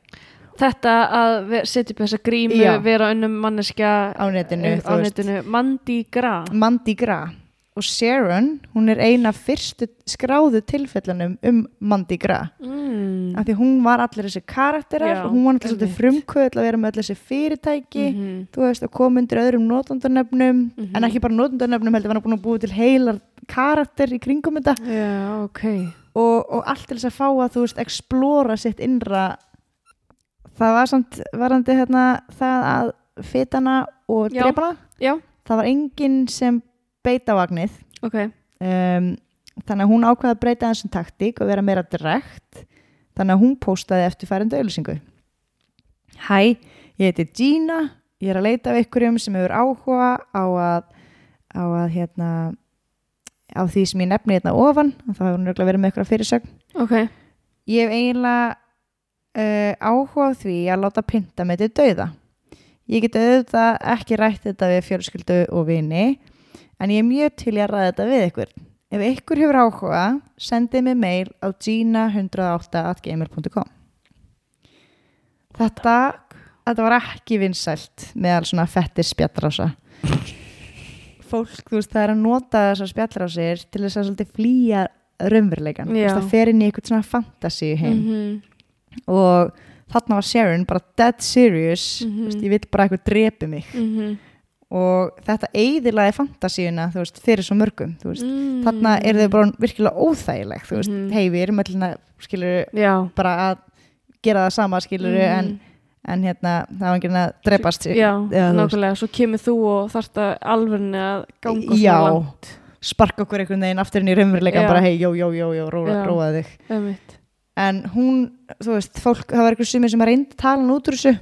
Þetta að ve- setja upp þessa grímu, Já. vera önnum manneskja Á netinu, eh, þú á veist. netinu Mandi Gra. Mandy Gra og Sharon, hún er eina fyrstu skráðu tilfellanum um Mandy Gra Mm. af því hún var allir þessi karakterar Já, og hún var allir svolítið einmitt. frumkvöld að vera með allir þessi fyrirtæki Mhm. þú veist að koma undir öðrum notandarnefnum en ekki bara notandarnefnum heldur var hann búin að búi til heilar karakter í kringum þetta Já, ok. og, og allt til þess að fá að þú veist explora sitt innra það var samt varandi hérna, það að fitana og Já. drefana Já, það var enginn sem beita vagnið ok. um, þannig að hún ákvaði að breyta þessum taktík og vera meira direkt þannig að hún postaði eftirfærandi auðlýsingu Hæ, ég heiti Gina ég er að leita af einhverjum sem hefur áhuga á að á að hérna á því sem ég nefni hérna ofan og þá hefur hún örugglega verið með eitthvað fyrirsögn Ok. ég hef eiginlega uh, áhuga á því að láta pynta mig til dauða. Ég get auðvitað ekki rætt þetta við fjölskyldu og vini en ég er mjög til í að ræða þetta við ykkur. Ef ykkur hefur áhuga, sendið mér mail á gina108.gmail.com Þetta, þetta var ekki vinsælt meðal svona fettir spjallrása. Fólk, þú veist, það er að nota þessar spjallrásir til þess að svolítið flýja raunveruleikan. Þú veist, Já. Það fer inn í eitthvað svona fantasíu heim Mm-hmm. Mhm. og þarna var Sharon bara dead serious mm Mhm. veist, ég vil bara eitthvað drepi mig Mhm. og þetta eiðilaði fantasíuna þú veist, fyrir svo mörgum þú veist. Mm. þarna er þau bara virkilega óþægileg þú veist, Mhm. hei við erum öllina skilur Já. Mm-hmm. bara að gera það sama skilur en, en hérna það var enginn að drepast Mhm. Já, eða þú veist. nákvæmlega. Svo kemur þú og þarft að alvörni að ganga svona Já. langt. sparka okkur einhvern veginn aftur inn í raunveruleikan Já. bara hei, jó, jó, jó, jó, róa, Já. róaði þig Einmitt. en hún, þú veist, fólk það var einhver sumir sem reyndi að tala hann út úr þessu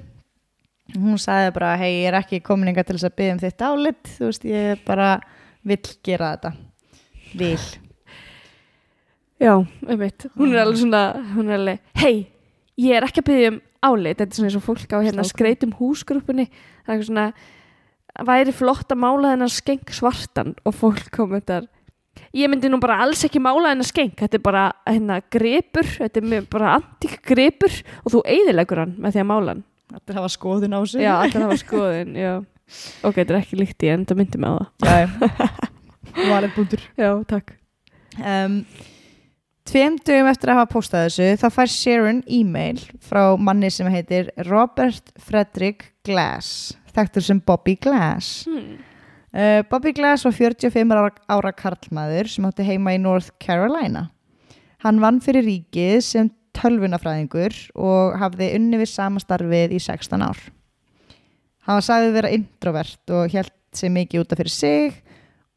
hún sagði bara, hei, ég er ekki komin enga til þess að byggja um þitt álit þú veist, ég er bara vill gera þetta vill Já, einmitt. Hún er alveg svona, hún er alveg, hei, ég er ekki að byggja um álit, þetta er svona eins og fólk á hérna Strákum. skreitum húsgrúpunni, það er eitthvað svona, væri flott að mála þennan skeng svartan og fólk kommentar, ég myndi nú bara alls ekki mála þennan skeng, þetta er bara hérna grepur, þetta er mjög bara antík grepur og þú eigðilegur hann með því að mála hann. Allir hafa skoðun á sig Já, þetta var skoðin, já. Ok, þetta er ekki líkt í en þetta myndi mig á það. Já, valið búndur Já, takk. um, Tveim dögum eftir að hafa postað þessu þá fær Sharon e-mail frá manni sem heitir Robert Frederick Glass þekktur sem Bobby Glass Hmm. Uh, Bobby Glass var 45 ára, ára karlmaður sem átti heima í North Carolina. Hann vann fyrir ríkið sem tölvunafræðingur og hafði unni við sama starfið í 16 ár. Hann var sagðið vera introvert og hjælt sig mikið út af fyrir sig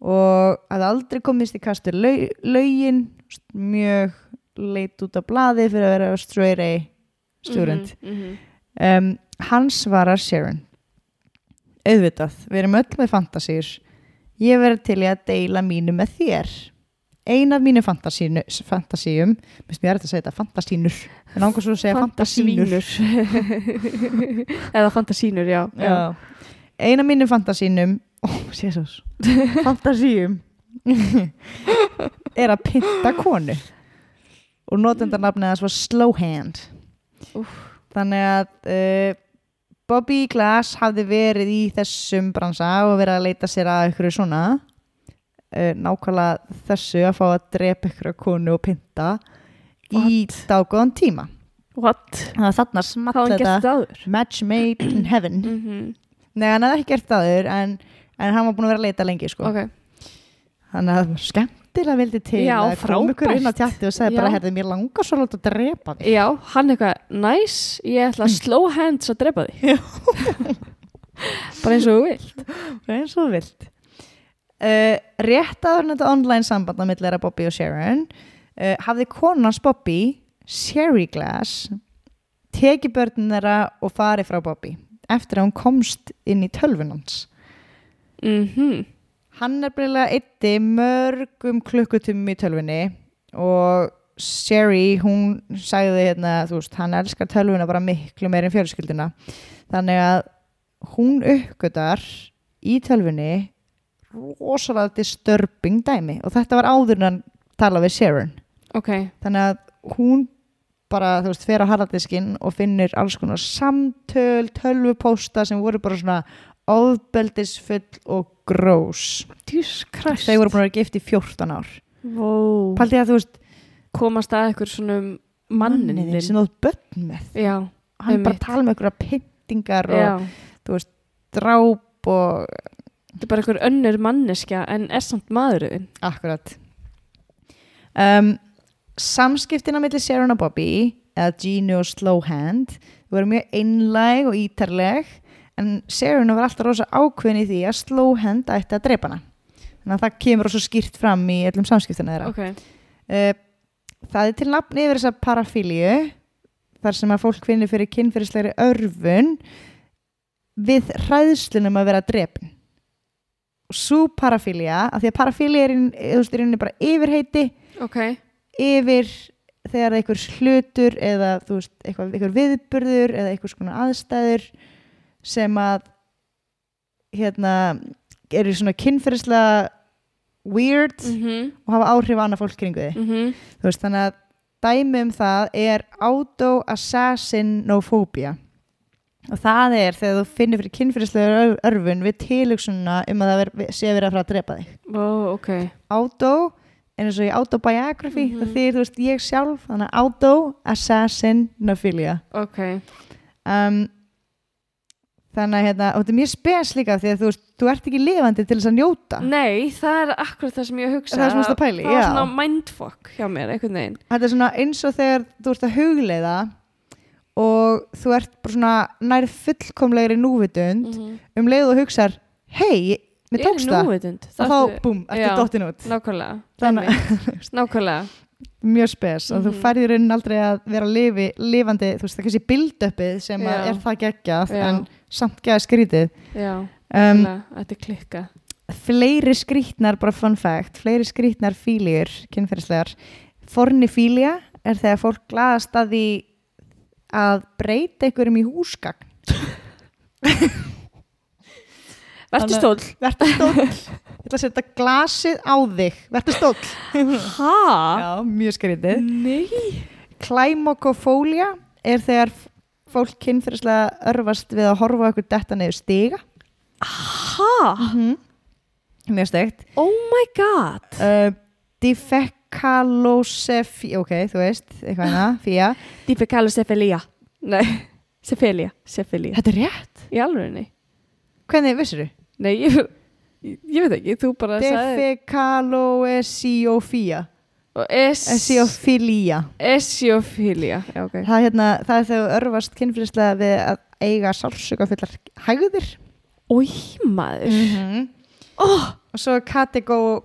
og hafði aldrei komist í kastu lög, lögin, mjög leit út af blaði fyrir að vera straight A student. Mm -hmm. Um, hann svarar Sharon Auðvitað, við erum öll með fantasíur Ég verð til í að deila mínu með þér Ein af mínu fantasínu, fantasíum Mér finnst mér erfitt að segja þetta, fantasínur En langar svo að segja fantasínur Fantasínur. Eða fantasínur, já. Já. Ein af mínu fantasínum Ó, jésus Fantasíum Er að pynta konu Og notendarnafnið hans var Slowhand Úff. Þannig að uh, Bobby Glass hafði verið í þessum bransa og verið að leita sér að ykkur svona uh, nákvæmlega þessu að fá að drepa ykkur konu og pynta í dágóðan tíma What? þannig að þarna Hvað smalt hann gert þetta þetta áður? match made in heaven Mm -hmm. Nei, hann hafði ekki gert það aður en, en hann var búin að vera að leita lengi sko. Ok. Þannig að það var skemmtilega vildi til Já, að kom ykkur frábært. inn á tjatti og sagði bara Já. herði, mér langar svo langt að drepa þig Já, hann eitthvað, nice, ég ætla Mm. að slow hands að drepa þig. Bara eins og þú vilt. Það er eins og þú vilt uh, Rétt áður en þetta online samband á milli er að Bobby og Sharon uh, hafði konans Bobby Sherry Glass teki börnin þeirra og farið frá Bobby eftir að hún komst inn í tölvunans Mhm. Hann er breyðilega eitti mörgum klukkutum í tölvunni og Sherry, hún sagði hérna, þú veist, hann elskar tölvuna bara miklu meir en fjölskylduna. Þannig að hún uppgötar í tölvunni rosalega disturbing dæmi og þetta var áður en hann talaði við Sharon. ok, Þannig að hún bara, þú veist, fer á haraldiskin og finnir alls konar samtöl, tölvupósta sem voru bara svona ofbeldisfull og grós djúskræst þau voru búin að vera gift í 14 ár wow. Paldi að þú veist, komast að eitthvað svona mannin manniðin þinn sem þú átt börn með já, hann bara Einmitt. tala með einhverja pyntingar og já dráp og þetta er bara einhver önnur manneskja en er samt maðurinn akkurat um, Samskiptina milli Sharon og Bobby eða Gino og Slowhand þau voru mjög einlæg og ítarleg en Sharon var alltaf rosa ákveðin í því að Slowhand ætti að dreipa hana þannig að það kemur rosa skýrt fram í öllum samskiptina þeirra ok, Eh, Það er til nafn yfir þessa parafíliu þar sem að fólk finnir fyrir kynfyrislegri örfun við hræðslunum að vera drefn og svo parafília af því að parafília er, inn, þú veist, er inn bara yfirheiti ok, yfir þegar einhver hlutur eða þú veist, eitthvað, einhver viðburður eða einhvers konar aðstæður sem að hérna eru svona kynfyrislega weird mhm, og hafa áhrif á annað fólk kringu því mhm þú veist þannig að dæmi um það er auto-assassinophobia og það er þegar þú finnir fyrir kynfyrirslega örfun við tilugsununa um að það ver, sé verið að fara að drepa þig Ó, ok, auto, en eins og í autobiography Mhm. það þýr þú veist ég sjálf þannig að auto-assassinophilia ok um, þannig að hérna, og þetta er mjög spes líka því að þú veist, þú ert ekki lifandi til þess að njóta Nei, það er akkurat það sem ég hugsa Ah. Það er sem þú ert að pæla í, Það var já. svona mindfuck hjá mér, einhvern veginn þetta er svona eins og þegar þú ert að hugleiða og þú ert bara svona nær fullkomlegri núvitund um leið og hugsaðar hei, mér tókst það Mhm. núvitund, og þá, búm, ertu já. dottin út Nákvæmlega, Þannig- einmitt. Nákvæmlega mjög spes, að þú Mhm. færðir raunin aldrei að vera lifi, lifandi, þú veist, það er kannski build-upið sem að Já. er það geggjað Já. en samt geggjað skrítið Já, um, nákvæmlega, þetta er klikka fleiri skrítnar, bara fun fact fleiri skrítnar fílíur, kynferðislegar fornifílía er þegar fólk glaðast að því að breyta einhverjum í húsgagn Vertu Þannig- stóll verður stóll ég ætla að setja glasið á þig verður stóll Hæ? já, mjög skrítið Nei Klæmokofólia er þegar f- fólk kynferðislega örfast við að horfa okkur detta neyður stiga Hæ? mjög stegt Oh my god uh, Defecalosef ok, þú veist, eitthvað hana, fía Dýpi kallu Sefelia Nei, Sefelia, Sefelia Þetta er rétt Í alvörinni Hvernig vissir þú? Nei, ég, ég, ég veit ekki, þú bara sagði Defecaloesiofía Esiof Esiofilía Esiofilia Já, ok Eh, það, er hérna, það er þegar þú örfast kynferðislega við að eiga sálsuga fullar hægðir Új, maður -hmm. oh, og svo kategó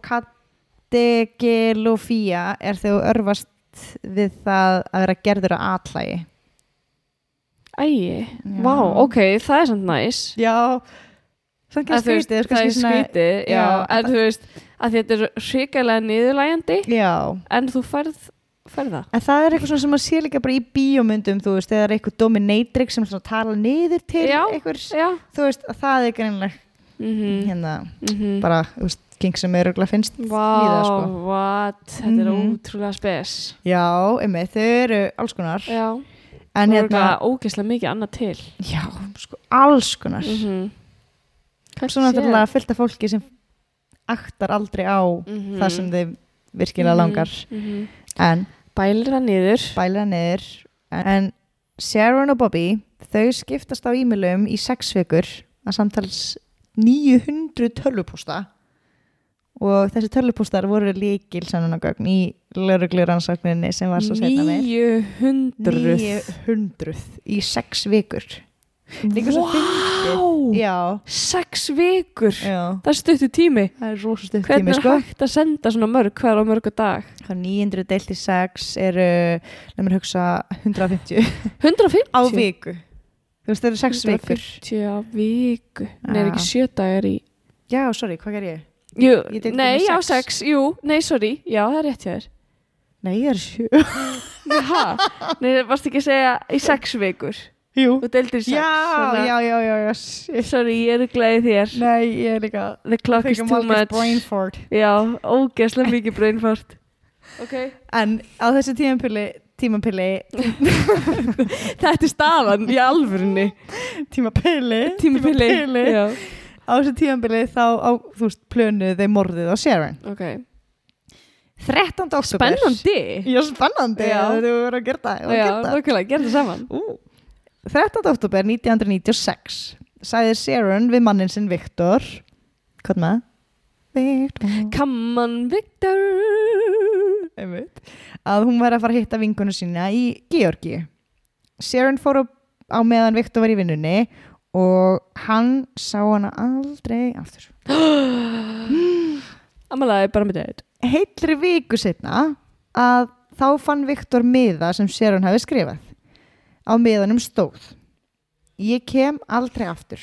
kategilofía er þegar þú örfast við það að vera gerður að atlægi Æi, vá, ok, það er samt næs já það er Að þú kannski veist, skrítið Það er skrítið, sko, já, já, En þú veist, að þetta er hrikalega niðurlægjandi já En þú færð, færð það En það er eitthvað svona sem maður sé líka bara í bíómyndum, þú veist, eða er eitthvað dominatrix sem svona tala niður til Já. einhvers, Já þú veist, að það er greinlega mhm, hérna, mhm. bara, þú veist, geng sem öruglega finnst Vá, sko. what, þetta er Mhm. ótrúlega spes Já, emmi, þau eru alls konar Já, En það er hérna, hérna, ógeðslega mikið annað til já, sko, alls konar Mhm. mm -hmm. Svo náttúrulega fullt af fólki sem aktar aldrei á Mhm. það sem þau virkilega langar En Bælir það Mhm. niður bæla niður En- En Sharon og Bobby, þau skiptast á e-mailum í sex vikur að samtals 900 tölvupústa og þessi tölvupústar voru líkil sannunagögn í lögreglurannsókninni sem var svo setna meir 900 900 í 6 vikur Líka svo fyndið. Vá, Já, 6 vikur já Það er stuttu tími Það er rosa stutt tími Hvernig er sko hægt að senda svona mörg hver á mörgu dag? Þá 900 deilt í 6 eru Leð mér hugsa 150 150? Á viku Þú veist það eru 6 vikur 150 á viku Nei, er Já. ekki 7 dagar í Já, sorry, hvað ger ég? Jú, Ég deildi nei, með já, sex. sex, jú, nei, sorry, já, það er rétt hjá þér. Nei, ég er sjö Nei, hæ? Nei, varstu ekki að segja í sex vikur? Jú Þú deildir í sex. Já, þannig að- Eh, já, já, já, já shit. Sorry, ég er glæðið þér. Nei, ég er líka The clock is Think too I'm Marcus much. Brainford Já, ógeðslega mikið brainfart. Ok. En á þessu tímapili Tímapili Þetta er staðan í alvörunni. Tímapili Tímabili. Já, Á þessu tímapili þá á, þú veist, plönuðu þeir morðið á Sharon ok. 13. oktober Spennandi. Já, spennandi Já. Þú verður að gera það og að Já, gera það. nokkulega, gerð það saman. Ú. 13. oktober 1996 sagði Sharon við mannin sinn Viktor hvað með? Viktor Come on, Victor. Einmitt. að hún væri að fara að hitta vinkunu sína í Georgi Sharon fór upp á meðan Viktor var í vinnunni og hann sá hana aldrei aftur Amalega, bara með þetta. heillri viku setna að þá fann Viktor miða sem Sharon hafi skrifað á miðanum stóð ég kem aldrei aftur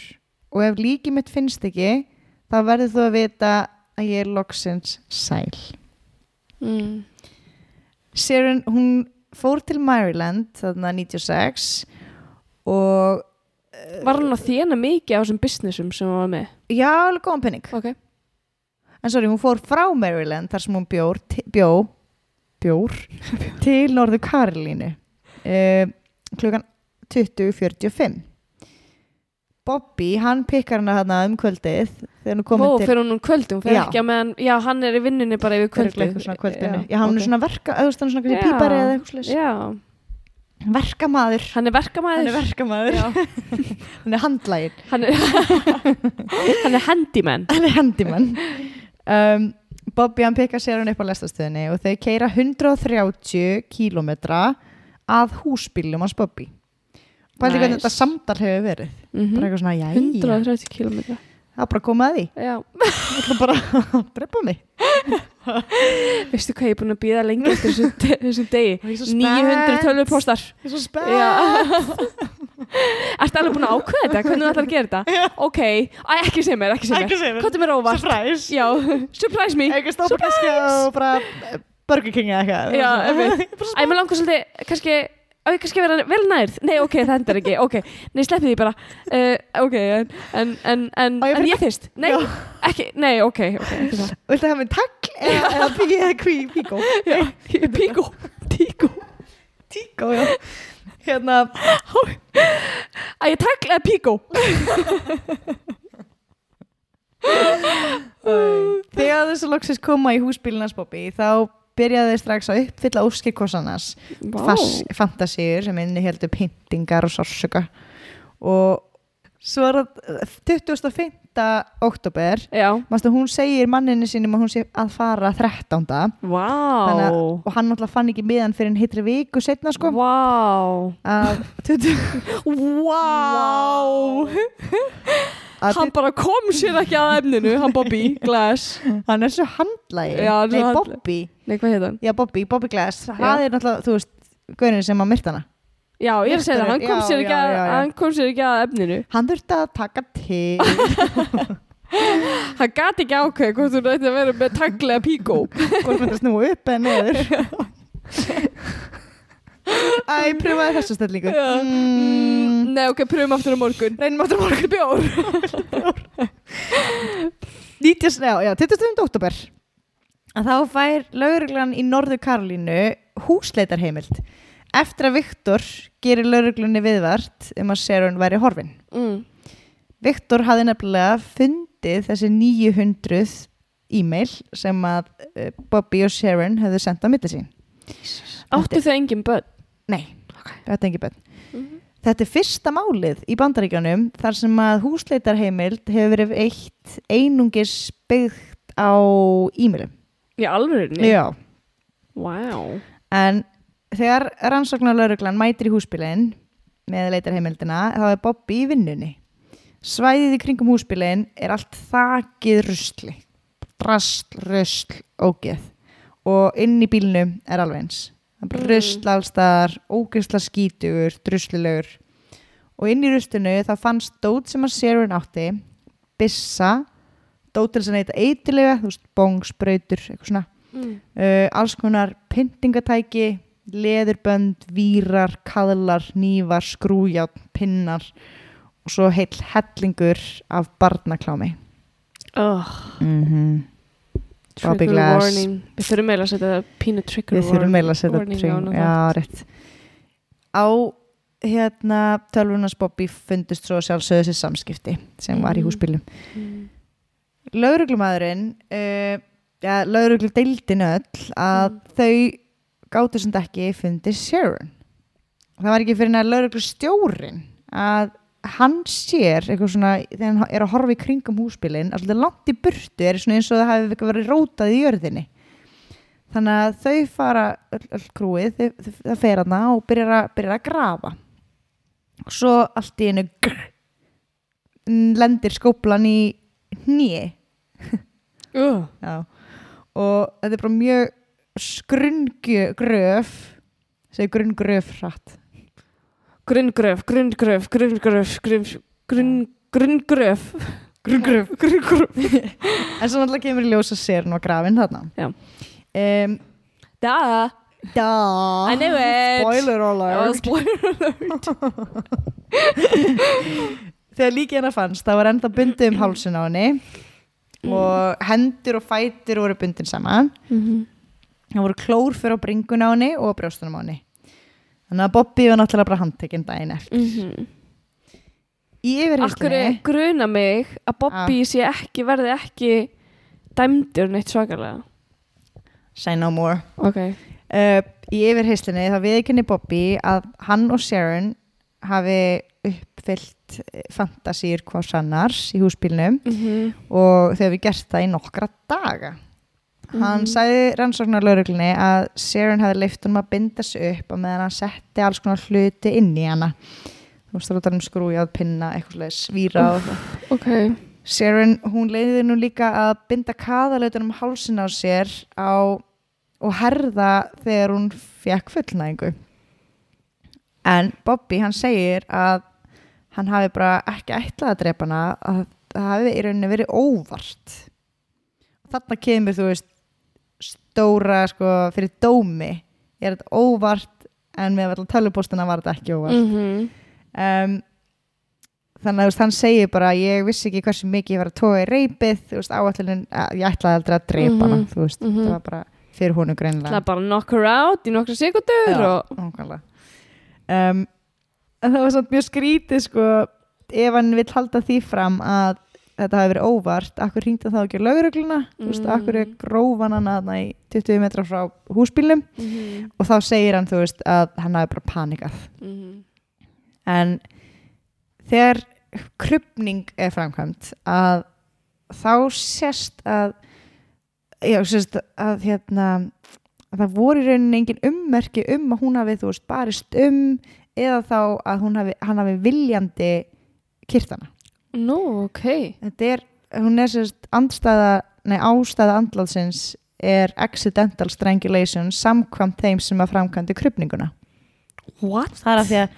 og ef líki mitt finnst ekki þá verður þú að vita að ég er loksins sæl Mm. Sharon, hún fór til Maryland þarna 96 og Var hann að þjena mikið á þessum businessum sem hann var með? já, alveg góðan penning Ok. en sorry, hún fór frá Maryland þar sem hún bjór, ti- bjó bjór, til Norðu Karolínu uh, klukkan 20.45 Bobby, hann pikkar hana hana um kvöldið þegar hún komið Ó, til fyrir hún um kvöldum, fyrir Já. ekki að meðan, já, hann er í vinnunni bara yfir Örugglega kvöldið. eitthvað svona kvöldinu já, hann ok. er svona verka, eða þú veist, hann er svona Já. kannski pípari eða eitthvað slags Já, verkamaður, hann er verkamæður. hann er verkamaður verkamæður. hann er handlægir Hann er, hann er handyman. hann er handyman um, Bobby hann pekka sér hann upp á lestastöðinni og þau keira 130 kílómetra að húsbílum hans Bobby Bæði Nice. hvernig þetta samtal hefur verið Mhm. bara eitthvað svona, jæja, 130 km. það er bara að koma að því Já, það ætla bara að drepa mig veistu hvað ég er búin að býða lengi eftir þessu, de- þessum degi? Ég er svo spennt. 900 tölvupostar. ég er svo spennt Já. Ertu alveg búin að ákveða þetta? Hvernig þú ætlar að gera þetta? Já. Ok, Æ, ekki sem er, ekki sem er. Ekki segja mér. Kottu mér óvart. surprise Já, surprise me. ekki stoppa kannski og bara eh, Burger King eða eitthvað Já, einmitt. Bara Æ, maður langar svolítið, kannski, á ég kannski að vera vel nærð? Nei, ok, það endar ekki, ok. Nei, sleppið því bara. Uh, ok, en, en, en, en, Á ég að en fara- ég fyrst. Nei, Já. ekki, nei, ok, ok. ekki það. svona, viltu hafa minn tagl eða eða pí- eða kví- píkó Já, ég- Píkó, píkó. tíkó, já hérna, Æ, ég taklaði píkó. Þegar þessu loksist koma í húsbílinas Bobby þá byrjaði þeir strax að uppfylla óskir kosanars wow. fantasíur sem inni heldur pyntingar og sársuga og svo er það eh, 25. oktober Já, Mastu, hún segir manninu sínum að hún sé að fara 13. vá. Þannig að, og hann náttúrulega fann ekki miðan fyrir en hitri viku setna sko Vá. að, 20, Vá. að Hann bara kom sér ekki að efninu, hann Bobby Glass. hann er svo handlæg Já, hann er nei svo handlagi. Bobby, Nei, hvað heit hann? já Bobby, Bobby Glass það er náttúrulega, þú veist, gaurin sem að myrta hana Já, ég er að segja það, hann kom Já, sér ekki já, að, já, já. hann kom sér ekki að efninu. hann þurfti að taka til Hann gati ekki ákveð hvort þú ætti að vera með taglega píkó. hvort myndir að snúa upp eða neður Æ, ég pröfaði þessu stellingu Já. mm, Nei, ok, pröfum aftur á morgun. Reynum áttur morgun Morgun bjór. 90, já, já, 25. oktober að þá fær lauruglan í Norðu Karolínu húsleitarheimild eftir að Viktor gerir lauruglunni viðvart um að Sharon væri horfin Mm. Viktor hafði nefnilega fundið þessi 900 e-mail sem að eh, Bobby og Sharon hefðu sendt á milli sín Áttu þau engin börn? Nei, þetta er ekki bönn. Mm-hmm. Þetta er fyrsta málið í bandaríkjanum þar sem að húsleitarheimild hefur verið eitt einungis byggt á e-mailum. Í alvörinni? Já. Vá. En þegar rannsóknarlauruglan mætir í húsbílinn með leitarheimildina þá er Bobby í vinnunni. Svæðið í kringum húsbílinn er allt þakið rusli. Drasl, rusl, ógeð. Og inn í bílnum er alveg eins. Það er bara rusl allstaðar, ógeðsla skítugur, druslilegur. Og inn í ruslinu þá fannst dót sem að Sharon átti, bissa, dótil sem neyta eitilega, þú veist, bóng, sprautur, eitthvað svona, Mm. uh, alls konar pyntingatæki, leðurbönd, vírar, kaðlar, nývar, skrújátt, pinnar og svo heill hellingur af barnaklámi. Oh, Mm -hmm. trigger glass. warning. Við þurfum eiginlega að setja það pínu trigger Við þurfum warning. meila að setja warning á tring hana Já, rétt Á hérna tölvunars Bobby fundust svo sjálfsögðu sér samskipti sem var í Mm. húsbílum Mm. Lauruglumadurinn uh, ja, Lauruglu deildin öll að þau gátu sem þetta ekki fundið Sharon Það var ekki fyrir hennar lauruglu stjórin að hann sér eitthvað svona, þegar hann er að horfa í kringum húsbílinn, alltaf langt í burtu er svona eins og það hafi eitthvað verið rótað í jörðinni þannig að þau fara öll, öll krúið, þau, þau, það fer hana og byrjar að, byrjar að grafa og svo allt í einu grr, lendir skóplan í hnýi Oh. Já. og þetta er bara mjög skrungröf segir grunngröf hratt Grunngröf, grunngröf, grunngröf, grunngröf, grunn, grunngröf. Grunngröf. grunngröf. en svo náttúrulega kemur í ljós að sér nú að grafin þarna Já. um, Da, da, I knew it. Ah, Oh, spoiler That was alert spoiler. þegar líki hennar fannst það var ennþá bundið um hálsun á henni og hendur og fætur voru bundin saman það voru klór fyrir á bringun á henni og á brjóstunum á henni þannig að Bobby var náttúrulega bara handtekinn daginn eftir Mhm. í Akkur yfirheilsinni gruna mig að Bobby sé ekki, verði ekki dæmdur um neitt svakalega. say no more Ok. uh, í yfirheyslinni þá viðkynni Bobby að hann og Sharon hafi uppfyllt eh, fantasíur hvors annars í húsbílnum Mhm. og þau hefur gert það í nokkra daga hann Mhm. sagði rannsóknar lauruglunni að Sharon hefði leift honum að binda sig upp og meðan hann setti alls konar hluti inn í hana þú veist það er að tala um skrújað, pinna, eitthvað svoleiðis, svíra og Ok. Sharon, hún leiði nú líka að binda kaðalautan um hálsin á sér á, og herða þegar hún fekk fullnæðingu. En Bobby, hann segir að hann hafi bara ekki ætlað að drepa hana að það hafi í rauninni verið óvart. Þarna kemur, þú veist, stóra, sko, fyrir dómi. Er þetta óvart en með alltaf tölupóstina var þetta ekki óvart Mhm. um, þannig að þú veist, hann segir bara ég vissi ekki hversu mikið ég var að toga í reypið þú veist, áallunin, að ég ætlaði aldrei að dreipa hana Mhm. þú veist, Mhm. það var bara fyrir honu Það er greinlega bara knock her out í nokkra sekundur Já, og... nákvæmlega. um, en það var samt mjög skrítið sko, ef hann vill halda því fram að þetta hafi verið óvart akkur hringdi þá ekki lögregluna þú veist, Mm. akkur er grófan hann þarna í 20 metra frá húsbílnum og þá segir hann, þú veist, að hann hafi bara panikað Mhm. en þegar krupning er framkvæmt að þá sést að já, sést að hérna að það voru í rauninni engin ummerki um að hún hafi, þú veist, barist um eða þá að hún hafi, hann hafi viljandi kyrtana Nú, ok. þetta er, hún er sérst andstæða, nei ástæða andlaðsins er accidental strangulation samkvæmt þeim sem að framkvæmdi krupninguna What? það er að því að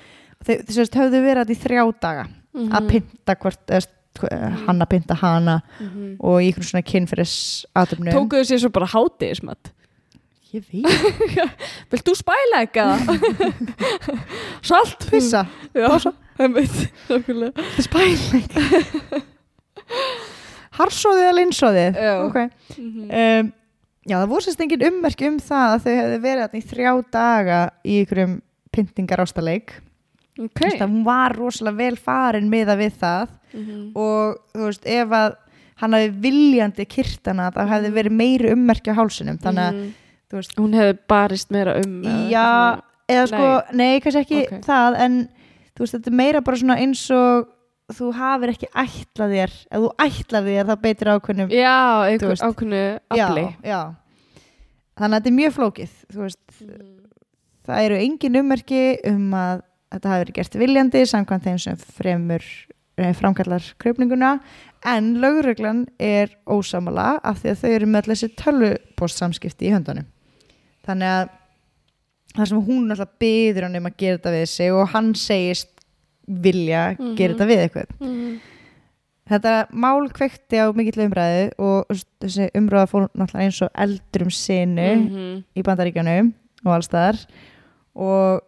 þau, þau sérst höfðu verið að því þrjá daga Mhm. Mm. að pynta hvort, eða st- hv- eh, hann að pynta hana Mhm. og í einhvern svona kynferðis aðtöfnum. Tókuðu Mhm. sér svo bara hátiðismat. Ég veit. Vilt þú spæla eitthvað? Salt? Pissa. Mhm. Já, það veit. Nákvæmlega. Spæling. Harsóðið eða linsóðið. Já. Mm. Ok. Mhm. Um, já, það voru sérst engin ummerki um það að þau hefðu verið þarna í þrjá daga í einhverjum pyntingar ástaleik. Ok. Hey. Hún var rosalega vel farin með að við það Mhm. og þú veist, ef að hann hafi viljandi kyrtana þá Mm. hefði verið meiri ummerki á hálsinum. Þannig að, Mhm. þú veist, Hún hefði barist meira um eða Já, eitthvað eða sko, nei, kannski ekki Ok. það en þú veist, þetta er meira bara svona eins og þú hafir ekki ætlað þér ef þú ætlað þér þá beitir ákveðnum svona. Já, Þú veist. einhver ákveðnu afli já, já þannig að þetta er mjög flókið þú veist, það eru engin ummerki um að þetta hafi verið gert viljandi samkvæmt þeim sem fremur eh, framkallar kröpninguna en lögreglan er ósamala af því að þau eru með allir þessi tölvupostsamskipti í höndunum þannig að það sem hún alltaf byður hann um að gera þetta við sig og hann segist vilja Mhm. gera þetta við eitthvað Mhm. Þetta mál kveikti á mikill umræðu og þessi umræða fór náttúrulega eins og eldrum sinu Mhm. í bandaríkjanum og allstaðar og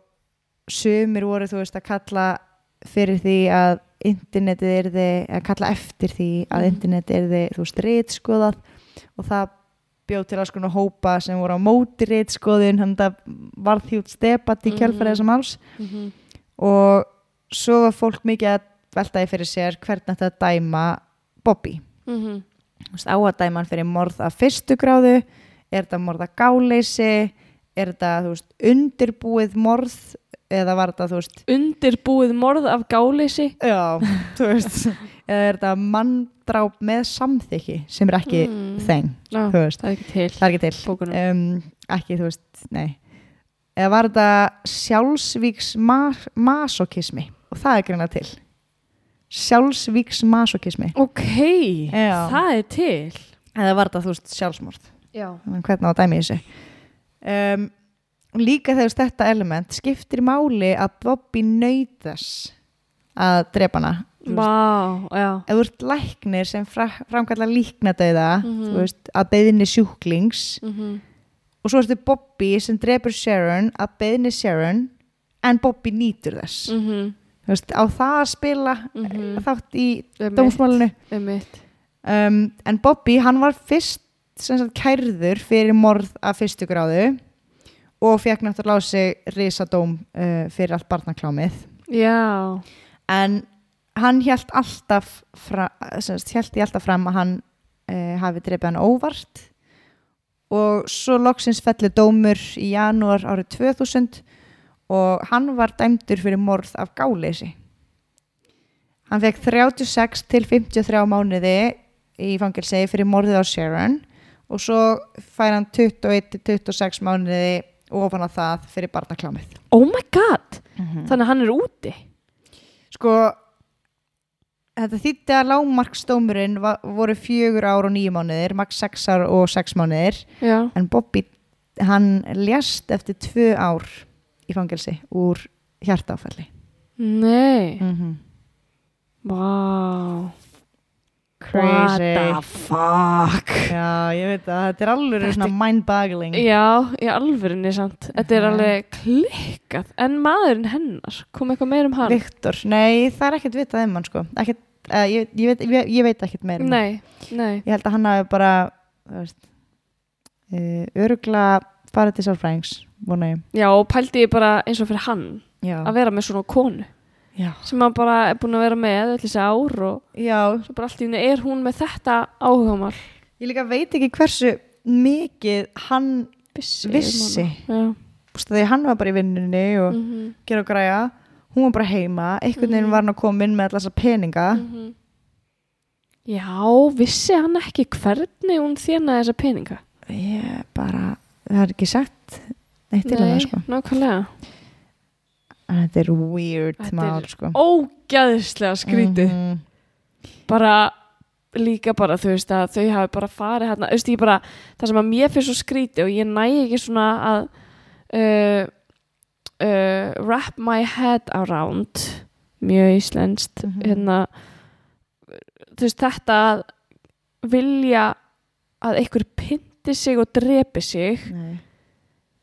sumir voru þú veist að kalla fyrir því að internetið er þið, að kalla eftir því að internetið er þið, þú veist, reitskoðað og það bjóð til að skona hópa sem voru á móti reitskoðun þannig að það varð þjótt stepat í kjálfæri þessa máls Mhm. og svo var fólk mikið að veltaði fyrir sér hvernig þetta að dæma Bobby Mhm. Þú veist, á að dæma hann fyrir morð af fyrstu gráðu er þetta morð af gáleysi er þetta þú veist, undirbúið morð eða var þetta þú veist Undirbúið morð af gáleysi já, þú veist eða er þetta manndráp með samþykki sem er ekki Mm. þeng Já, þú veist, það er ekki til það er ekki til Bókunum um, ekki þú veist, nei eða var þetta sjálfsvíks ma- masokismi og það er greinlega til sjálfsvíks masokismi Ok, Já. það er til eða var þetta þú veist sjálfsmorð Já Þannig hvernig á að dæmi í þessu um, líka þegar þetta element skiptir máli að Bobby nöyðas að drepa hana Þú veist, Vá, já ef þú ert læknir sem fra, framkalla líknadauða Mhm. þú Mm. veist, að beðinni sjúklings og svo ertu Bobby sem drepur Sharon að beðinni Sharon en Bobby nýtur þess Mm. þú veist, á það að spila mm Mhm. þátt í Einmitt. dómsmálinu Einmitt um, en Bobby hann var fyrst sem sagt, kærður fyrir morð af fyrstu gráðu og fekk náttúrulega á sig risadóm uh, fyrir allt barnaklámið Já en hann held alltaf fra, sem sagt, held í alltaf fram að hann uh, hafi dreipið hann óvart og svo loksins felli dómur í janúar árið 2000 og hann var dæmdur fyrir morð af gáleysi hann fekk 36 til 53 mánuði í fangilsi fyrir morðið á Sharon og svo fær hann 21 til 26 mánuði ofan að það fyrir barnaklámið Oh my god Þannig að hann er úti sko þetta þýtti að lágmarksdómurinn va- voru fjögur ár og nýju mánuðir max sex ár og sex mánuðir Já en Bobby hann lést eftir tvö ár í fangelsi úr hjartáfælli Nei mm -hmm. Vá What the crazy fuck já ég veit að þetta er alveg svona mind boggling Já, í alvörinni samt Þetta er Já. alveg klikkað En maðurinn hennar, kom eitthvað meir um hann Viktor, nei það er ekkert vitað um hann sko ekkert, uh, ég, ég, veit, ég, ég veit ekkert meir um hann. Nei, nei ég held að hann hafi bara þú veist, uh, örugla farið til sálfræðings vona ég Já, og pældi ég bara eins og fyrir hann já. Að vera með svona konu Já. Sem hann bara er búin að vera með öll þessi ár Og Já, svo bara allt í henni er hún með þetta áhugamál ég líka veit ekki hversu mikið hann Vissi, Vissi. um hana. Vistu, því hann var bara í vinnunni og Já mhm. gera og græja hún var bara heima, einhvern Mm. veginn var hann að koma inn með allasa peninga mhm. Já, vissi hann ekki hvernig hún þjónaði þessa peninga? ég bara, það er ekki sagt neitt til hann sko nákvæmlega. en þetta er weird Þetta er mál sko Ógæðislega skrítið. Mhm. Bara líka bara þú veist að þau hafi bara farið hérna, þú veist ég bara, það sem að mér finnst svo skrítið og ég næ ekki svona að uh, uh, wrap my head around, mjög íslenskt, Mhm. hérna, þú veist þetta að vilja að einhver pynti sig og drepi sig Nei.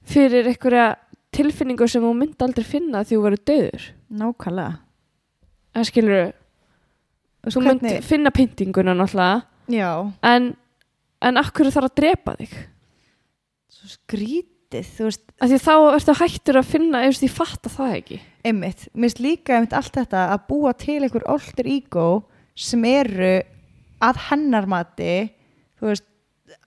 fyrir einhverja tilfinningu sem þú myndi aldrei finna því þú verður döður nákvæmlega en skilur þú myndi hvernig- finna pyntinguna náttúrulega já, en, en akkur þarf að drepa þig svo skrítið þú veist, af því þá ertu hættur að finna ef því fatta það ekki einmitt, mér finnst líka einmitt allt þetta að búa til einhver alter ego sem eru að hennar mati þú veist,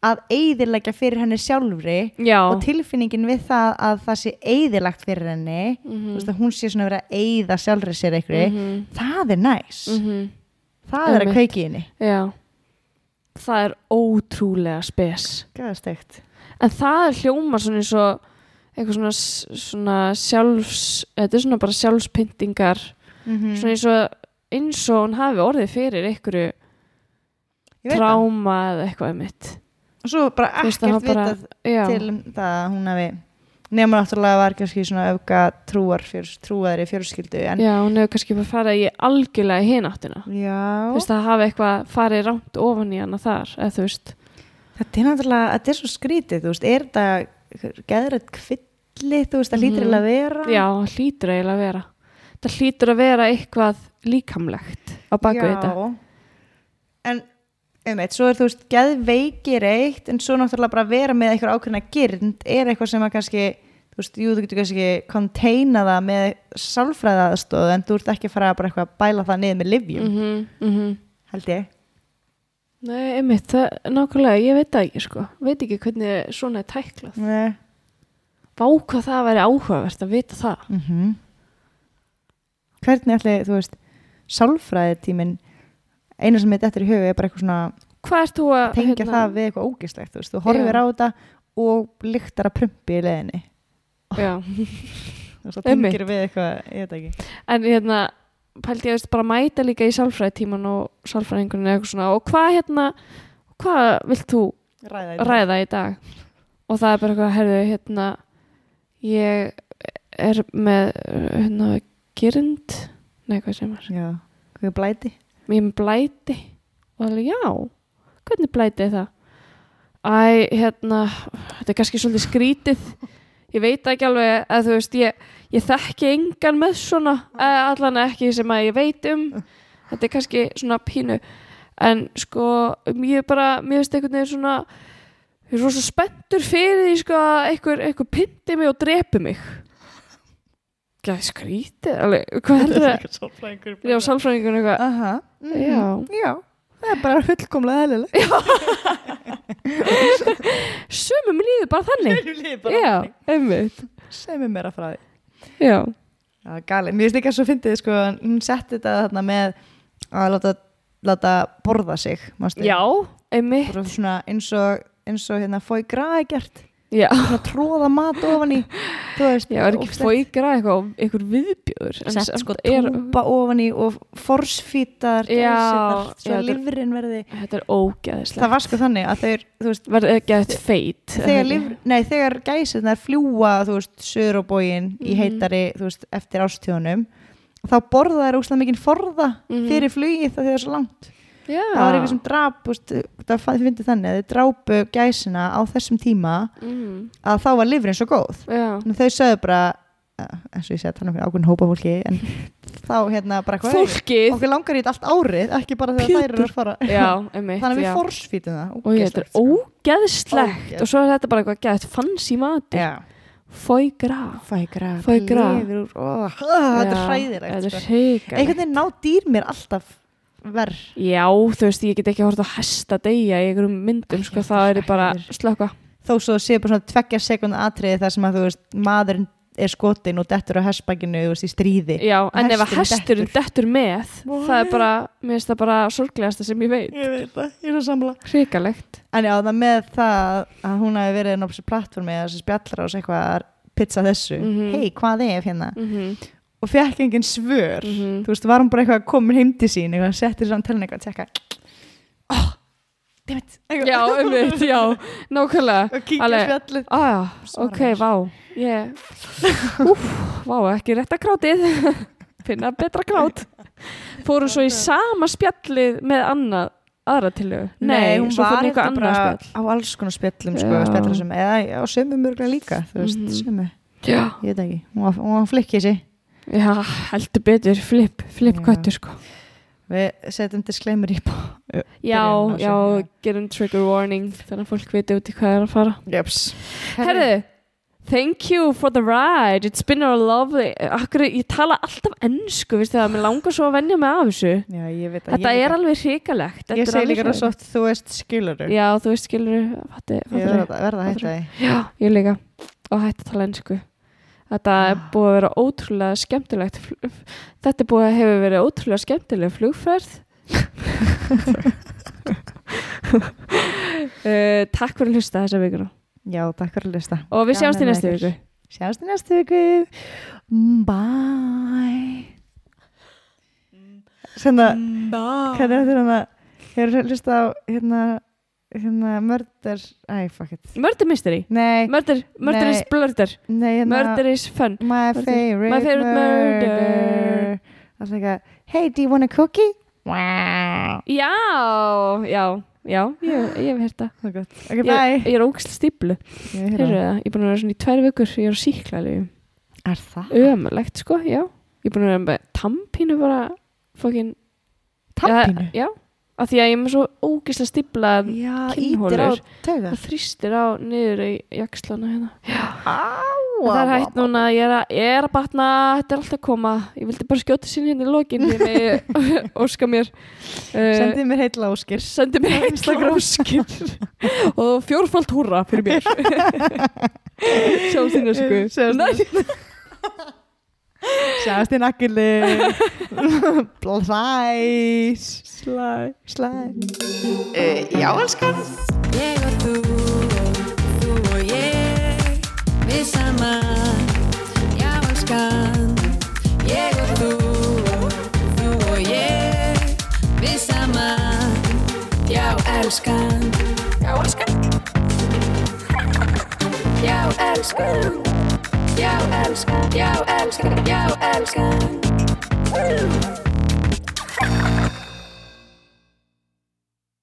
að eigðilegja fyrir henni sjálfri já, og tilfinningin við það að það sé eigðilagt fyrir henni Mhm. þú veist að hún sé svona að vera að eigða sjálfri sér einhverju, Mm. Mhm. það er næs Mhm. það er að Einmitt. kveiki í henni já það er ótrúlega spes gæðastegt en það er hljóma svona eins og eitthvað svona, s- svona sjálfs þetta er svona bara sjálfspyntingar Mhm. svona eins og eins og hún hafi orðið fyrir einhverju tráma eða eitthvað um mitt og svo bara Þú veist, það ekkert var bara- vitað já, til um það að hún hafi nema náttúrulega var kannski svona öfga trúar fjörs, trúaðri fjörskildu en já, Já, hún hefur kannski bara farið í algjörlega hináttina. Þú veist, það hafi eitthvað farið rámt ofan í hana þar, eða þú veist. þetta er náttúrulega þetta er svo skrítið, þú veist, er þetta geðrætt kvilli, þú veist, það hlýtur eiginlega að vera Já, það hlýtur eiginlega að vera. Það hlýtur að vera eitthvað líkamlegt á baku Já. þetta. en um eitt, svo er þú veist geðveikir eitt, en svo náttúrulega bara vera með eitthvað ákveðna gyrnd, er eitthvað sem að kannski, þú veist, jú, þú getur kannski containa það með sálfræðaðstóð, en þú ert ekki að fara að bara eitthvað að bæla það niður með livjum, Mm -hmm, mm -hmm. held ég Nei, einmitt, það, nákvæmlega, ég veit það ekki, sko. Veit ekki hvernig svona er tæklað. Nei. Vá hvað það væri áhugavert að vita það. mm hvernig ætli, þú veist sálfræðitíminn eina sem mitt eftir í huga er bara eitthvað svona Hvað ert þú að... tengja hérna, það við eitthvað ógislegt, þú veist, þú horfir Já. á þetta og lyktar að prumpi í leðinni Já, og svo Einmitt. tengir við eitthvað, ég veit ekki en hérna, pældi ég að veist bara mæta líka í sálfræðitíman og sálfræðingunin eða eitthvað svona. Og hvað hérna, hvað vilt þú ræða, í dag. ræða í dag og það er bara eitthvað, herðu, hérna ég er með hérna, gyrnd nei, hvað sem var, Já, hvað er blæti? ég er með blæti og það er, já, hvernig blæti er það? Æ, hérna þetta er kannski svolítið skrítið ég veit ekki alveg að þú veist ég, ég þekki engan með svona eh, allan ekki sem að ég veit um þetta er kannski svona pínu en sko, ég er bara mér finnst einhvern veginn svona ég er rosa spenntur fyrir því sko að einhver, einhver pindi mig og drepi mig gæði skrítið alveg, hvað heldur það? Já, sálfræðingun eitthvað Aha, mm, Já. já, það er bara fullkomlega eðlileg Sumum líður bara þannig Já, einmitt Segðu mér meira frá því Já, Já, gali, mér finnst líka svo fyndið sko, hún setti þetta þarna með að láta, láta borða sig manstu? já einmitt Bara svona eins og, eins og hérna fói græði gert Já, svona tróða mat ofan í þú veist, já er ekki ógeðslegt. fóigra eitthvað einhver viðbjöður en sett samt sko er- túpa ofan í og forsfítar Já, gæsirnar, já, svo þetta er- lífurinn verði Þetta er það ógeðislega var sko þannig að þeir, þú veist Verður ekki að þetta feit þegar, líf, nei, þegar gæsirnar fljúa þú veist, söður og bógin í Mhm. heitari þú veist, eftir ástjónum þá borða þær úslega mikinn forða Mhm. fyrir flugið það þegar það er svo langt Já það var eitthvað sem drap, þú veist, það finnir þannig að þeir drápu gæsina á þessum tíma mm, að þá var lifrin svo góð Já Þannig að þau sögðu bara eh, eins og ég segi að tala um ákveðin hópa af fólki en þá hérna bara hvað er- Fólkið okkur langar í þetta allt árið ekki bara þegar þær eru að fara Já, einmitt þannig að já. við forsfítum það sko. og ég, þetta er ógeðslegt Ógeð. og svo er þetta bara eitthvað gæðt fancy matur Já. foie gras Fæ graf, Foie gras. lifur úr- ó, ó, Þetta er Já, hræðilegt þetta er sko. hrikalegt. Einhvern veginn ná dýr mér alltaf verð já, þú veist, ég get ekki hort að hesta deyja í einhverjum myndum, sko, Æ, þá er ég bara hræðir. slökka þó svo sé bara svona tveggja sekund atriði þar sem að þú veist maðurinn er skotin og dettur á hessbækinu þú veist í stríði já, en ef að Hesturinn hesturinn dettur með Vá. það er bara, mér finnst það bara sorglegasta sem ég veit, Ég veit það, ég er að samla hrikalegt En já, það með það að hún hafi verið inn á þessu plattformi eða þessu spjallra og eitthvað að pizza þessu, Mhm. hei, hvað er hérna? mm -hmm. Og fekk engin svör. mhm. Þú veist, var hún bara eitthvað komin heim til sín, eitthvað, settir saman telin eitthvað, tjekka, oh, dammit, eitthvað. já, um veit, já, nákvæmlega Og kíkja Alveg. spjallið. aðja, Svara ok, mér. vá ég, úf, vá, ekki rétta krátið finna betra krát fórum svo í sama spjallið með annað, aðra tilögu hún svo var fór eitthvað eitthvað annað bara spjall á alls konar spjallum, sko, Já. spjallra sem, eða á sömu mörglega líka, þú veist, Mhm. sömu, já, ég veit ekki, hún var, hún var flikkið sér. já, heldur betur flip, flip Já. köttur sko Við setjum disclaimer í bá. já, Byrjun á já, þessu, já. gerum trigger warning þannig að fólk viti út í hvað er að fara Jöps. herðu, thank you for the ride it's been a lovely akkur, ég tala alltaf ennsku, veistu það, mér langar svo að venja mig af þessu Já, ég veit að ég Þetta er líka- alveg hrikalegt Þetta Ég er segi alveg líka hrikalegt. rosa oft, þú veist, skilurðu. Já, þú veist, skilur Ég verða verð að hætta því. Já, ég líka og hætti að tala ennsku Þetta er búið að vera ótrúlega skemmtilegt fl- f- Þetta er búið að hefur verið ótrúlega skemmtileg flugferð uh, Takk fyrir að hlusta þessa vikuna Já, takk fyrir að lista. og við sjáumst í Gaman næstu með viku ykkur. Sjáumst í næstu viku. Bye. Svona, hvernig þetta er hérna, hefur hlustað á hérna hérna, mörder, æ, fuck it Murder mystery nei, Murder, murder Nei. is blurder nei, hérna Murder is fun my murder- favorite, my favorite murder. það er svona eitthvað hey, do you want a cookie? wow Já, já, já Ég, ég hef hérta það er gott, ok, Ég, bye ég er ógst stíplu Ég eh, Heyrðu hérna. það, ég er búin að vera svona í tvær vikur Ég er á síklalyfjum er það? Ömulegt sko, já Ég er búin að vera með tampínu bara Fokkin tampinu? Já, af því að ég er með svo ógislega stípla að já, ítir á kinnhólur. taugar Það þrýstir á niður í jakslana hérna Á, Það er á, á, hægt á. núna, ég er, að, ég er að batna, þetta er alltaf að koma. Ég vildi bara skjóta sín hérna í lokin því að ég óska mér. Uh, sendið mér heitla óskir sendi mér Instagram skil. og fjórfald húra fyrir mér. Sjáum þínu sko. Sjáumst í næstu Sjáumst í nakkilu Blæs Slæ Slæ Eh, Øh, já, elskan. Ég og þú og þú og ég Við saman Já, elskan Ég og þú og þú og ég Við saman Já, elskan Já, elskan Já, elskan Já, elskan Já, elskan Já, elskan